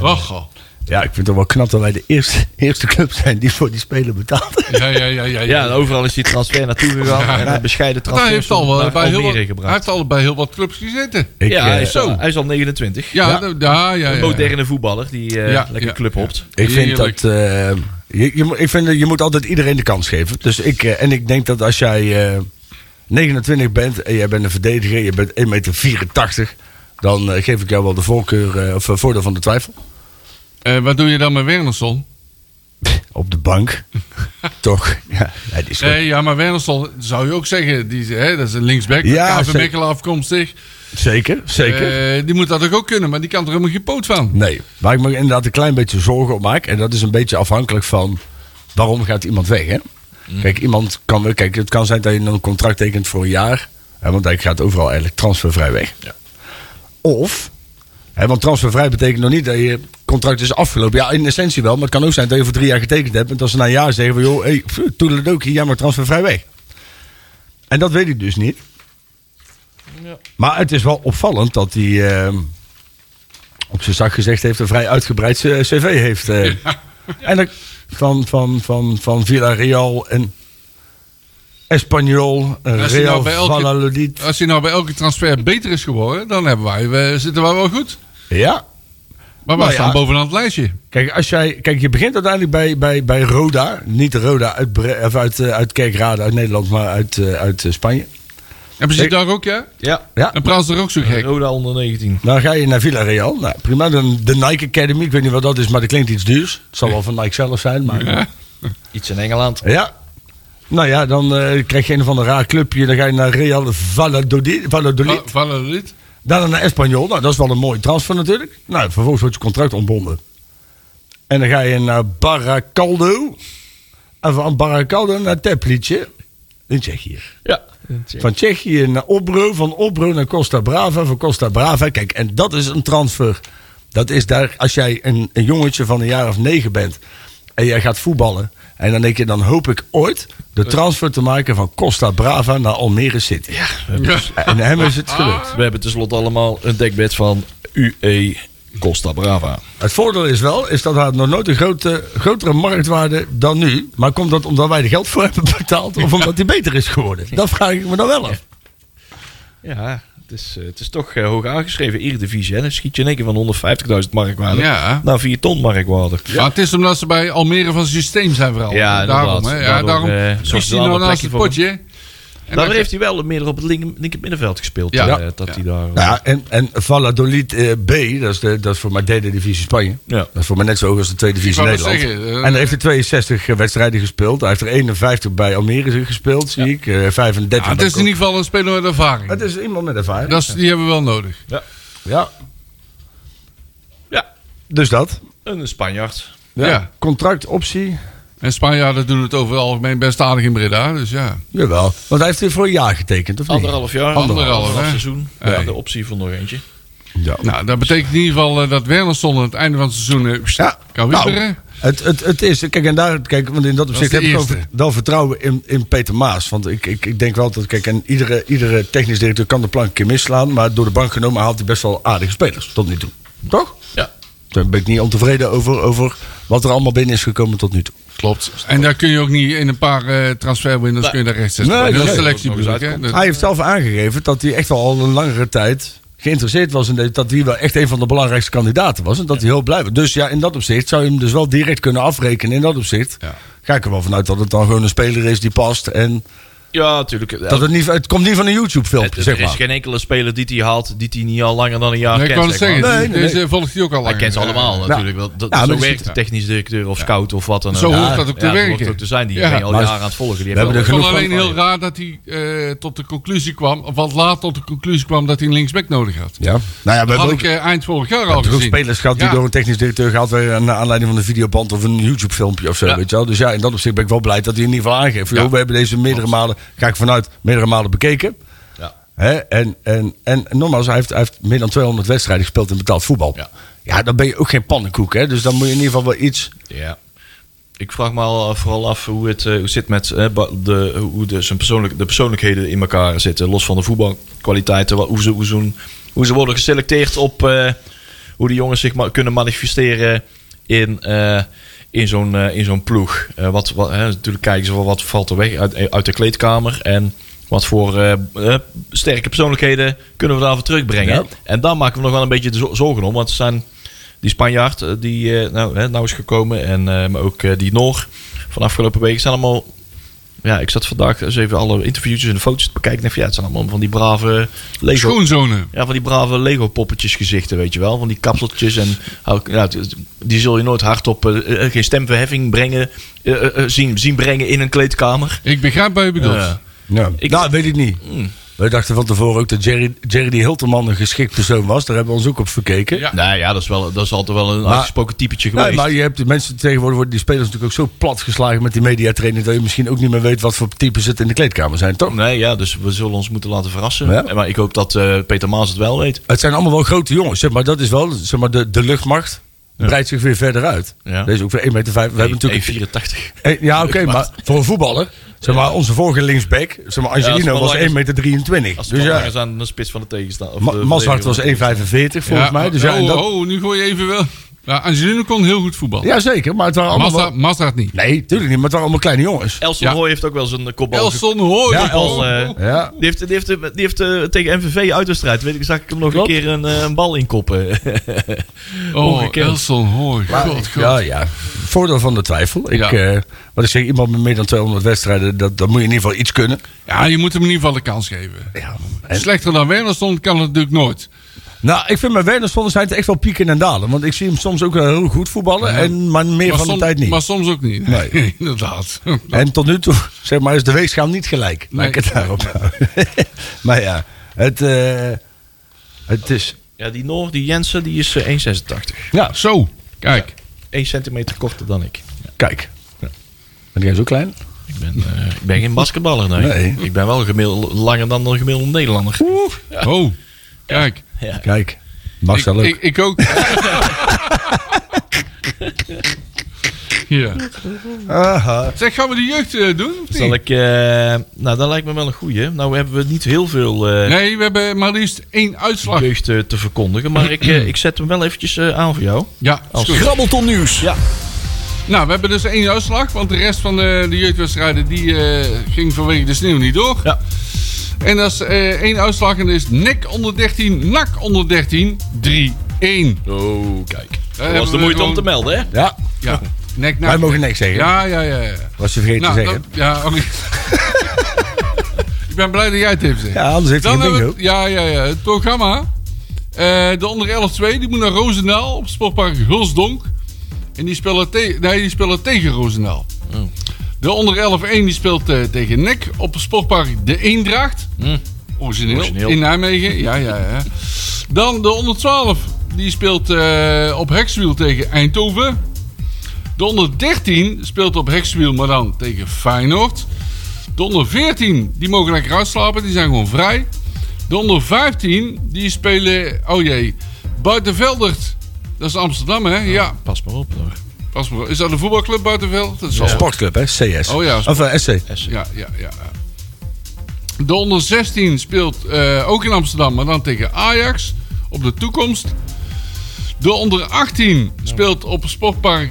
D: Och, goh.
C: Ja, ik vind het wel knap dat wij de eerste, [LAUGHS] eerste club zijn die voor die speler betaalt.
D: Ja, ja, ja,
B: Ja,
D: ja.
B: nou,
D: ja.
B: en overal is die transfer naartoe gegaan. En een bescheiden
D: Want hij
B: transfer
D: heeft al, wel
B: naar
D: bij heel
B: Almere
D: wat, hij
B: gebracht.
D: heeft al bij heel wat clubs gezeten.
C: Ik,
B: ja,
C: eh,
B: hij is,
D: zo.
B: al- hij is al 29.
D: Ja, ja, ja. ja,
B: Een
D: ja.
B: moderne voetballer die eh,
D: Ja,
B: lekker
D: ja,
B: club
D: ja.
B: hopt.
C: Ik vind,
D: Heerlijk.
C: dat, eh, je, je, moet- ik vind dat je moet altijd iedereen de kans geven. Dus ik, eh, en ik denk dat als jij eh, 29 bent en jij bent een verdediger, je bent 1,84 meter, dan eh, geef ik jou wel de voorkeur eh, of eh, voordeel van de twijfel.
D: Eh, wat doe je dan met Wernersson?
C: Op de bank. [LAUGHS] Toch? Ja, ja, die is goed.
D: Nee, Eh, ja, maar Wernersson zou je ook zeggen, die, hè, dat is een linksback,
C: Ja,
D: ja, KV
C: zeker.
D: Mechelen afkomstig.
C: Zeker, zeker.
D: Eh, die moet dat toch ook kunnen, maar die kan er helemaal geen poot van.
C: Nee, waar ik me inderdaad een klein beetje zorgen op maak. En dat is een beetje afhankelijk van waarom gaat iemand weg. Hè? Kijk, iemand kan, wel- kijk, het kan zijn dat je een contract tekent voor een jaar. Hè, want hij gaat overal eigenlijk transfervrij weg. Of, hè, want transfervrij betekent nog niet dat je contract is afgelopen. Ja, in essentie wel. Maar het kan ook zijn dat je voor drie jaar getekend hebt. En dat ze na een jaar zeggen van, joh, hey, pff, toedeledokie, jij mag transfervrij weg. En dat weet ik dus niet. Maar het is wel opvallend dat hij eh, op zijn zak gezegd heeft een vrij uitgebreid eh, cv heeft. eh. En dan van, van, van, van Villarreal en Espanyol, eh,
D: Als hij
C: Real
D: nou bij elke-
C: Valladolid.
D: Als hij nou bij elke transfer beter is geworden, dan hebben wij, we, zitten wij wel goed.
C: Ja,
D: Maar wij
C: Nou ja.
D: staan bovenaan het lijstje.
C: Kijk, als jij, kijk, je begint uiteindelijk bij, bij, bij Roda. Niet Roda uit, Bre- of uit, eh, uit Kerkrade, uit Nederland, maar uit, eh, uit eh, Spanje.
D: Hebben ze
C: Ik-
D: daar ook, ja?
B: Ja.
C: Ja,
D: En praat ze er ook zo gek.
B: Roda onder 19.
C: dan ga je naar Villarreal. Nou, prima. Dan de Nike Academy. Ik weet niet wat dat is, maar dat klinkt iets duurs. Het zal wel van Nike zelf zijn, maar... Ja.
B: Iets in Engeland.
C: Nou ja, dan eh, krijg je een of ander raar clubje. Dan ga je naar Real Valladolid. Valladolid.
D: Va- Valladolid.
C: Daarna naar Espanyol. Nou, dat is wel een mooie transfer natuurlijk. Nou, vervolgens wordt je contract ontbonden. En dan ga je naar Baracaldo. En van Baracaldo naar Teplice. In Tsjechië.
B: Ja.
C: Van Tsjechië naar Obro. Van Obro naar Costa Brava. Van Costa Brava. Kijk, en dat is een transfer. Dat is daar, als jij een, een jongetje van een jaar of negen bent. En jij gaat voetballen. En dan denk je, dan hoop ik ooit de transfer te maken van Costa Brava naar Almere City.
D: Ja.
C: En hem is het gelukt.
B: We hebben tenslotte allemaal een dekbed van UE Costa Brava.
C: Het voordeel is wel, is dat hij nog nooit een grote, grotere marktwaarde dan nu. Maar komt dat omdat wij er geld voor hebben betaald of omdat hij beter is geworden? Dat vraag ik me dan wel af.
B: Ja, het is, eh, het is toch eh, hoog aangeschreven. Eredivisie, hè? Dan schiet je in één keer van 150.000 markwaarde
D: Ja.
B: naar 4 ton markwaarde.
D: Maar het is omdat ze bij Almere van systeem zijn vooral.
B: Ja,
D: daarom.
B: inderdaad.
D: Hè? Ja,
B: Daardoor,
D: daarom
B: eh,
D: is
B: zorgt
D: hij
B: er
D: nou
B: wel een
D: naast
B: plekje
D: het
B: voor
D: potje. En dan-
B: Daar heeft hij wel meer op het linker, linker middenveld gespeeld.
D: Ja.
B: Ja.
D: Ja.
B: dat hij daar... eh,
C: Nou ja, en, en Valladolid eh, B, dat is, de, dat is voor mij derde divisie Spanje.
B: Ja.
C: Dat is voor mij net zo hoog als de tweede divisie
D: wou net
C: Nederland.
D: zeggen, eh,
C: en hij heeft er 62 wedstrijden gespeeld. Hij heeft er 51 bij Almere gespeeld, zie ik. Eh, 35
D: Ja, het
C: bij
D: Ah, is in ieder geval een speler met ervaring.
C: Het is iemand met ervaring.
D: Dat is, die hebben we wel nodig.
C: Ja,
B: ja,
C: dus dat.
B: een Spanjaard.
D: Ja.
C: Contractoptie,
D: En Spanjaarden doen het over het algemeen best aardig in Breda. Dus ja.
C: jawel. Want hij heeft dit voor een jaar getekend, of niet?
B: Anderhalf jaar.
D: Anderhalf, hè?
B: seizoen.
D: Ja.
B: Ja, de optie voor nog eentje.
C: Ja.
D: Nou, dat betekent in ieder geval eh, dat Wernersson aan het einde van het seizoen eh, pst,
C: Ja,
D: kan
C: nou,
D: wieperen.
C: Het, het, het is, kijk, en daar, kijk, want in dat opzicht
D: de
C: heb ik ook
D: eerste.
C: wel vertrouwen in, in Peter Maas. Want ik, ik, ik denk wel dat, kijk, en iedere, iedere technisch directeur kan de plank een keer misslaan. Maar door de bank genomen haalt hij best wel aardige spelers tot nu toe. Toch?
B: Ja.
C: Daar ben ik niet ontevreden over, over wat er allemaal binnen is gekomen tot nu toe.
B: Klopt.
D: En daar kun je ook niet in een paar eh transferwindows kun je daar rechts zetten.
C: Nee,
D: dat is
C: nee.
D: selectie
B: Dat is
D: bedoel ik, hè. Dat-
C: Hij heeft zelf aangegeven dat hij echt wel al een langere tijd geïnteresseerd was. En dat hij wel echt een van de belangrijkste kandidaten was. En dat hij heel blij was. Dus ja, in dat opzicht zou je hem dus wel direct kunnen afrekenen. In dat opzicht
D: Ja.
C: ga ik er wel vanuit dat het dan gewoon een speler is die past. En
B: Ja, natuurlijk.
C: dat het, niet, het komt niet van een YouTube-filmpje,
B: Het-
C: zeg
B: er is
C: maar.
B: geen enkele speler die hij haalt, die hij niet al langer dan een jaar
D: Nee, ik
B: kent.
D: kan het
B: zeg maar.
D: zeggen.
C: maar. Nee, nee,
D: Deze
C: nee.
D: volgt hij ook al lang.
B: Hij kent ze allemaal natuurlijk. wel. Dat,
C: Ja, maar
B: zo
C: dat is
B: werkt de
D: het.
B: technisch directeur of scout of wat dan
D: Zo
B: ook.
D: hoort dat ook te
B: zo hoort
D: werken.
B: ook te zijn. Die
D: Ja.
B: ben je al
C: Maar-
B: jaren aan het volgen. Die
C: We
B: hebben
D: Ik
C: hebben
B: wel-
D: vond
C: Genoeg
D: alleen
B: van-
D: heel raar dat hij eh, tot de conclusie kwam, of wat laat tot de conclusie kwam, dat hij een linksback nodig had.
C: Ja. Nou ja, we
D: Dat
C: hebben
D: had
C: ook,
D: ik eh, eind vorig jaar al
C: we hebben ook
D: gezien.
C: spelers gehad die
D: Ja.
C: door een technisch directeur gehaald werden. aan de aanleiding van een videoband of een YouTube-filmpje of zo.
B: Ja.
C: Weet je wel. Dus ja, in dat opzicht ben ik wel blij dat hij in ieder geval aangeeft. van,
D: Ja.
C: joh, we hebben deze meerdere malen, ga ik vanuit, meerdere malen bekeken.
B: Ja.
C: Hè? En, en, en nogmaals, hij heeft, hij heeft meer dan 200 wedstrijden gespeeld in betaald voetbal.
B: Ja.
C: Ja, dan ben je ook geen pannenkoek. Hè? Dus dan moet je in ieder geval wel iets.
B: Ja. Ik vraag me al, eh, vooral af hoe het eh, hoe het zit met eh, ba- de, hoe de, zijn persoonlijk, de persoonlijkheden in elkaar zitten. Los van de voetbalkwaliteiten. wat- Hoe ze, hoe, zo'n- hoe ze worden geselecteerd op eh, hoe die jongens zich ma- kunnen manifesteren in, eh, in zo'n eh, in zo'n ploeg. Eh, wat, wat, hè, natuurlijk kijken ze wel wat valt er weg uit, uit de kleedkamer. En wat voor eh, eh, sterke persoonlijkheden kunnen we daarvoor terugbrengen.
C: Ja.
B: En daar maken we nog wel een beetje de zo- zorgen om. Want het zijn die Spanjaard eh, die eh, nou, hè, nou is gekomen. En eh, maar ook eh, die Noor van afgelopen week. Het zijn allemaal... Ja, ik zat vandaag eens even alle interviewtjes en de foto's te bekijken. En dacht van, ja, het zijn allemaal van die brave Lego...
D: Schoonzonen.
B: Ja, van die brave Lego poppetjes gezichten, weet je wel. Van die kapseltjes en ja, die zul je nooit hardop eh, eh, geen stemverheffing brengen, eh, eh, eh, zien, zien brengen in een kleedkamer.
D: Ik begrijp wat je bedoelt.
B: Ja.
C: Ja.
B: Ik-
C: nou, weet ik niet. We dachten van tevoren ook dat Jerry, Jerry die Hilterman een geschikt persoon was. Daar hebben we ons ook op verkeken.
D: Ja.
B: Nou ja, dat is, wel, dat is altijd wel een
C: Maar-
B: uitgesproken typetje
C: Nee,
B: geweest.
C: maar nou, je hebt de mensen tegenwoordig worden die spelers natuurlijk ook zo plat geslagen met die mediatraining dat je misschien ook niet meer weet wat voor types het in de kleedkamer zijn, toch?
B: Nee, ja, dus we zullen ons moeten laten verrassen.
C: Ja.
B: Maar ik hoop dat eh, Peter Maas het wel weet.
C: Het zijn allemaal wel grote jongens, zeg maar dat is wel zeg maar de, de luchtmacht breidt zich weer verder uit.
B: Ja.
C: Deze ook weer 1,5 meter. vijf. We hebben natuurlijk
B: 84.
C: Hey, ja, oké, maar voor een voetballer. Zeg maar, onze vorige linksback, zeg maar,
B: Ja, als
C: Angelino,
B: het
C: was
B: belangrijk
C: 1,23 meter.
B: Als het
C: dus ja,
B: is aan de spits van de tegenstander. of
C: Ma
B: de
C: Maswart was 1,45
B: verdediger.
C: volgens
D: Ja,
C: mij. Dus ja, en
D: oh,
C: dat,
D: oh, nu gooi je even wel. Ja, Angelino kon heel goed voetballen.
C: ja, zeker. Maar het waren allemaal...
D: Mazda, Mazda het niet.
C: Nee, tuurlijk niet. Maar het waren allemaal kleine jongens.
B: Elson
D: Ja.
B: Hooy heeft ook wel zijn kopbal. ge-
D: Elson Hoor.
C: Ja,
B: Elson, eh,
C: Ja.
B: Die heeft, die heeft, die heeft eh, tegen MVV uitwedstrijd. Weet ik, zag ik hem nog
C: Klopt.
B: een keer een, eh, een bal inkoppen. [LAUGHS]
D: oh,
B: ongekend.
D: Elson Hoor.
C: Maar,
D: God, God.
C: ja, ja. Voordeel van de twijfel. Ik,
D: Ja.
C: eh, wat ik zeg, iemand met meer dan 200 wedstrijden, dat, dat moet je in ieder geval iets kunnen.
D: Ja, je moet hem in ieder geval de kans geven.
C: Ja. En-
D: Slechter dan Werner stond kan het natuurlijk nooit.
C: nou, ik vind mijn Wernerstonden zijn het echt wel pieken en dalen. Want ik zie hem soms ook wel heel goed voetballen, en, maar meer
D: Maar
C: van de
D: som-
C: tijd niet.
D: Maar soms ook niet.
C: Nee.
D: [LAUGHS] inderdaad.
C: En tot nu toe, [LAUGHS] zeg maar, is de weegschaal niet gelijk. Laat
D: Nee.
C: ik het daarop [LAUGHS] houden. Maar ja, het, eh, het is...
B: ja, die Noor, die Jensen, die is eh, 1,86.
C: Ja,
D: [LAUGHS] Zo, kijk.
B: 1 centimeter korter dan ik.
C: kijk. Ben jij zo klein?
B: Ik ben, eh, ik ben geen basketballer, nee.
C: Nee.
B: Ik ben wel gemiddeld, langer dan een gemiddelde Nederlander.
D: Oh, kijk.
B: Ja.
C: Kijk. Marcel
D: ik,
C: ook.
D: ik, ik
C: [LAUGHS]
D: ook. ja.
C: Aha.
D: Zeg, gaan we de jeugd eh, doen? Of niet?
B: Zal ik, eh, nou, dat lijkt me wel een goeie. Nou hebben we niet heel veel eh,
D: Nee, we hebben maar liefst één uitslag.
B: jeugd eh, te verkondigen.
C: [CLEARS THROAT]
B: Maar ik, eh, ik zet hem wel eventjes eh, aan voor jou.
D: Ja, is
B: Als-
D: goed.
A: Grabbelton nieuws.
D: Nou, we hebben dus één uitslag, want de rest van de, de jeugdwedstrijden die eh, ging vanwege de sneeuw niet door.
B: Ja.
D: En dat is eh, één uitslag en dat is NEC onder 13, NAC onder 13, 3-1.
B: Oh, kijk.
D: hebben
B: Dat was
D: we
B: de moeite
D: gewoon-
B: om te melden, hè?
C: Ja,
D: Ja, NEC NAC.
C: wij mogen niks zeggen.
D: Ja, ja, ja. ja.
C: Was je vergeten te
D: Nou,
C: zeggen.
D: dat- ja, oké. [LAUGHS] Ik ben blij dat jij het heeft gezegd.
C: Ja, anders heeft hij
D: Dan
C: geen
D: hebben
C: bingo.
D: we, ja, ja, ja, het programma. Eh, de onder 11-2, die moet naar Roosendaal op sportpark Hulsdonk. En die spelen, te- nee, die spelen tegen Roosendaal. De onder 11-1 die speelt eh, tegen NEC op het sportpark De Eendracht. Origineel.
B: Origineel.
D: In Nijmegen, ja, ja, ja. Dan de onder 12, die speelt eh, op Hekswiel tegen Eindhoven. De onder 13 speelt op Hekswiel, maar dan tegen Feyenoord. De onder 14, die mogen lekker uitslapen, die zijn gewoon vrij. De onder 15, die spelen, oh jee, Buitenveldert. Dat is Amsterdam, hè? Ja.
B: Pas maar op, hoor.
D: Pas maar op. Is dat de voetbalclub Buitenveld? Dat is wel
C: Sportclub, hè? CS.
D: Oh ja,
C: Of eh, SC.
D: ja, ja, ja. De onder 16 speelt eh, ook in Amsterdam, maar dan tegen Ajax op de toekomst. De onder 18 speelt op het sportpark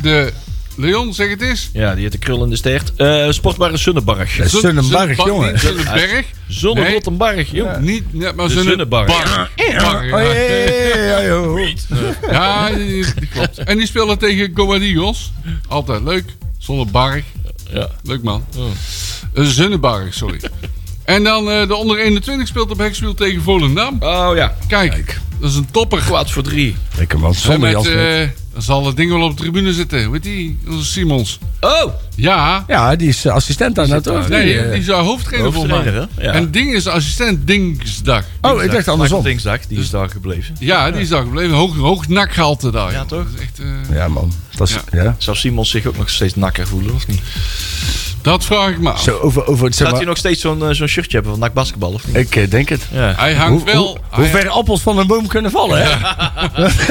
D: de Leon, zeg het eens.
B: Ja, die heeft de krul in de stert. Eh sportbare Sunnebarg.
C: Ja,
D: Zun-
C: Sunnenbarg,
D: Zun-
C: jongen.
D: niet Zunnenberg. Nee.
B: Zonnegrottenbarg, joh.
D: Niet, ja, maar
B: De Zunnebarg.
D: Barg.
C: Oh, jee, ja, joh.
D: Ja, die- die klopt. En die spelen tegen Goadillos. Altijd leuk. Zonder Barg.
B: Ja.
D: Leuk man. Eh, Zunnebarg, sorry. En dan eh, de onder 21 speelt op Hekswiel tegen Volendam.
B: Oh ja,
D: Kijk, dat is een topper.
B: kwaad voor drie.
C: Lekker man,
D: En
C: zonder
D: met,
C: jas. met-
D: eh, dan zal het ding wel op de tribune zitten. Hoe heet die? Dat is Simons.
B: Oh!
D: Ja.
C: Ja, die is eh, assistent aan het toch?
D: Nee,
C: Die, eh,
D: die is eh, hoofdtrainer voor mij.
B: Hoofdtrainer, hè? Ja.
D: En Ding is assistent Dingsdag.
C: Oh, ik dacht andersom.
B: Dinsdag, die is daar gebleven.
D: Ja, die is daar gebleven. Hoog, hoog nakgehalte daar.
B: Ja,
D: joh.
B: toch?
D: Dat is echt, eh,
C: Ja, man. Dat is, ja.
B: Zou Simon zich ook nog steeds nakker voelen, of niet?
D: Dat vraag ik me af.
C: Zo, over, over, zeg
B: Gaat
C: maar,
B: hij nog steeds zo'n eh, zo'n shirtje hebben van NAC basketbal, of niet?
C: Ik eh, denk het.
B: Ja.
D: Hij hangt
C: Hoe,
D: wel...
C: hoe,
D: hij-
C: hoe ver appels van een boom kunnen vallen, hè? [LAUGHS]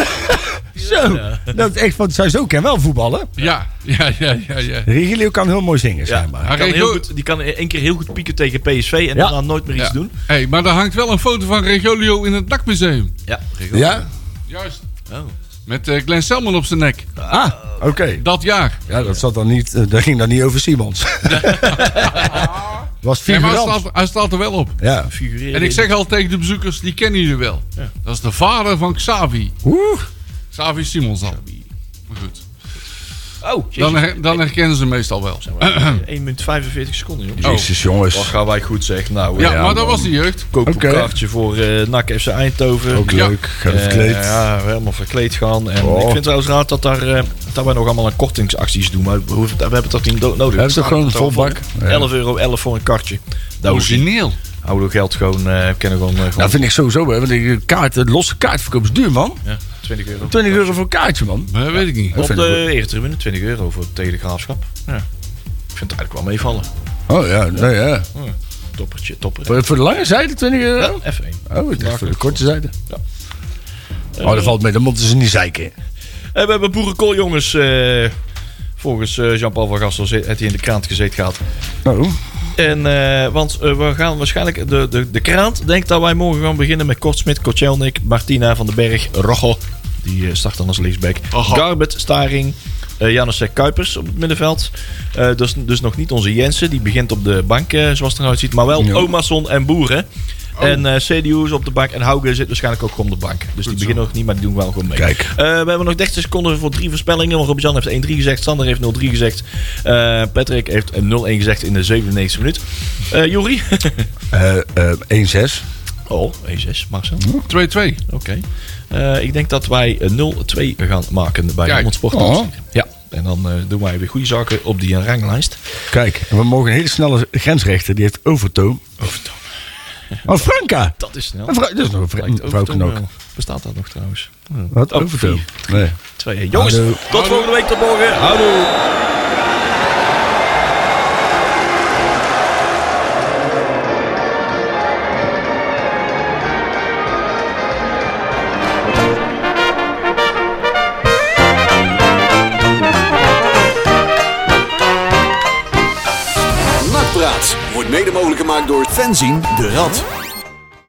C: Zo. Dat is echt, want zij zo kan wel voetballen.
D: Ja, ja, ja, ja. ja.
C: Regilio kan heel mooi zingen,
B: Ja.
C: schijnbaar.
D: Hij
B: Kan
D: reed
B: heel
D: ook-
B: goed, die kan één keer heel goed pieken tegen PSV en daarna nooit meer iets
D: ja.
B: doen.
D: Hey, maar daar hangt wel een foto van Regolio in het nakmuseum.
B: Ja,
C: Ja?
D: Juist.
B: Oh.
D: Met eh Glenn Selman op zijn nek.
C: Ah, oké.
D: Dat jaar.
C: Ja, dat, zat dan niet, eh, dat ging dan niet over Simons. Was
D: Nee, maar hij
C: figurant.
D: staat, hij staat er wel op.
C: Ja.
B: figureren.
D: En ik zeg al tegen de bezoekers, die kennen jullie wel. Dat is de vader van Xavi.
C: Oeh.
D: Xavi Simons dan. Maar goed.
B: Oh,
D: Dan, her- dan herkennen ze meestal wel. [CLEARS THROAT]
B: 1 minuut 45 seconden, joh.
C: Jezus,
B: Wat
C: jongens.
B: gaan wij goed, zeg. Nou,
D: Ja,
B: eh,
D: maar
B: man.
D: dat was de jeugd.
B: Koop
C: Oké.
B: een kaartje voor eh NAC FC Eindhoven.
C: Ook
D: Ja.
C: leuk. Gaat
B: Eh,
C: verkleed.
B: ja, helemaal verkleed gaan. En
C: Oh.
B: ik vind het trouwens raar dat, daar, eh, dat wij nog allemaal aan kortingsacties doen. Maar we, hoeven, we hebben dat niet do- nodig.
C: hebben toch gewoon een vol bak? Ja.
B: 11 euro 11 voor een kartje. Daar hoef je niet.
D: Origineel.
B: Oude geld gewoon, eh kennen gewoon, eh, gewoon
C: Dat vind ik sowieso, hè, want die kaart, de losse kaartverkoop is duur, man.
B: ja, 20 euro.
C: 20 euro voor een kaartje, man.
D: Maar dat weet ik niet.
B: Op
C: vind ik
B: de eertribune 20 euro voor tegen de graafschap. Ja. Ik vind het eigenlijk wel meevallen.
C: Oh ja, nou ja.
B: Toppertje, topper.
C: Voor, voor de lange zijde 20 euro?
B: Ja, F1.
C: Oh, ik dacht voor de korte zijde.
B: Ja.
C: Oh, dat valt mee. Dan moeten ze niet zeiken.
B: En Eh, we hebben boerenkool, jongens. eh, volgens eh, Jean-Paul van Gastel zit- heeft hij in de krant gezeten gehad.
C: Oh.
B: En, eh, want eh, we gaan waarschijnlijk... De, de, de krant denkt dat wij morgen gaan beginnen met Kortsmit, Kocelnik, Martina van den Berg, Rochel. Die eh, start dan als linksback. Garbet, Staring, eh Janusek Kuipers op het middenveld. Eh, dus, dus nog niet onze Jensen. Die begint op de bank, eh, zoals het eruit ziet. Maar wel
C: Ja. Oh.
B: Omason en Boeren. En eh CDU's op de bank. En Hauge zit waarschijnlijk ook gewoon op de bank. Dus die beginnen nog niet, maar die doen wel gewoon mee.
C: Kijk.
B: Eh, we hebben nog 30 seconden voor drie voorspellingen. Want Robjan heeft 1-3 gezegd. Sander heeft 0-3 gezegd. Eh, Patrick heeft 0-1 gezegd in de 97 minuut. Eh Jori? [LAUGHS]
C: Eh, eh, 1-6.
B: oh, 1-6, Marcel.
D: 2-2.
B: Oké. Eh, ik denk dat wij eh, 0-2 gaan maken bij
D: Kijk.
B: Helmond Sport.
C: Oh.
B: Ja. En dan eh, doen wij weer goede zaken op die ranglijst.
C: Kijk, we mogen een hele snelle grensrechter. Die heeft Overtoom. Overtoom. Oh, Franka.
B: Dat is snel.
C: Een vrou- dat is nog een vrou-
B: Lijkt
C: een vrouw
B: Overtoom
C: ook.
B: wel. Bestaat dat nog trouwens?
C: Wat?
B: Oh,
C: Overtoom? Nee.
B: 2 Jongens,
C: Hallo.
B: tot volgende week, tot morgen. Hallo.
A: Nakpraat wordt mede mogelijk gemaakt door Fenzin de Rad.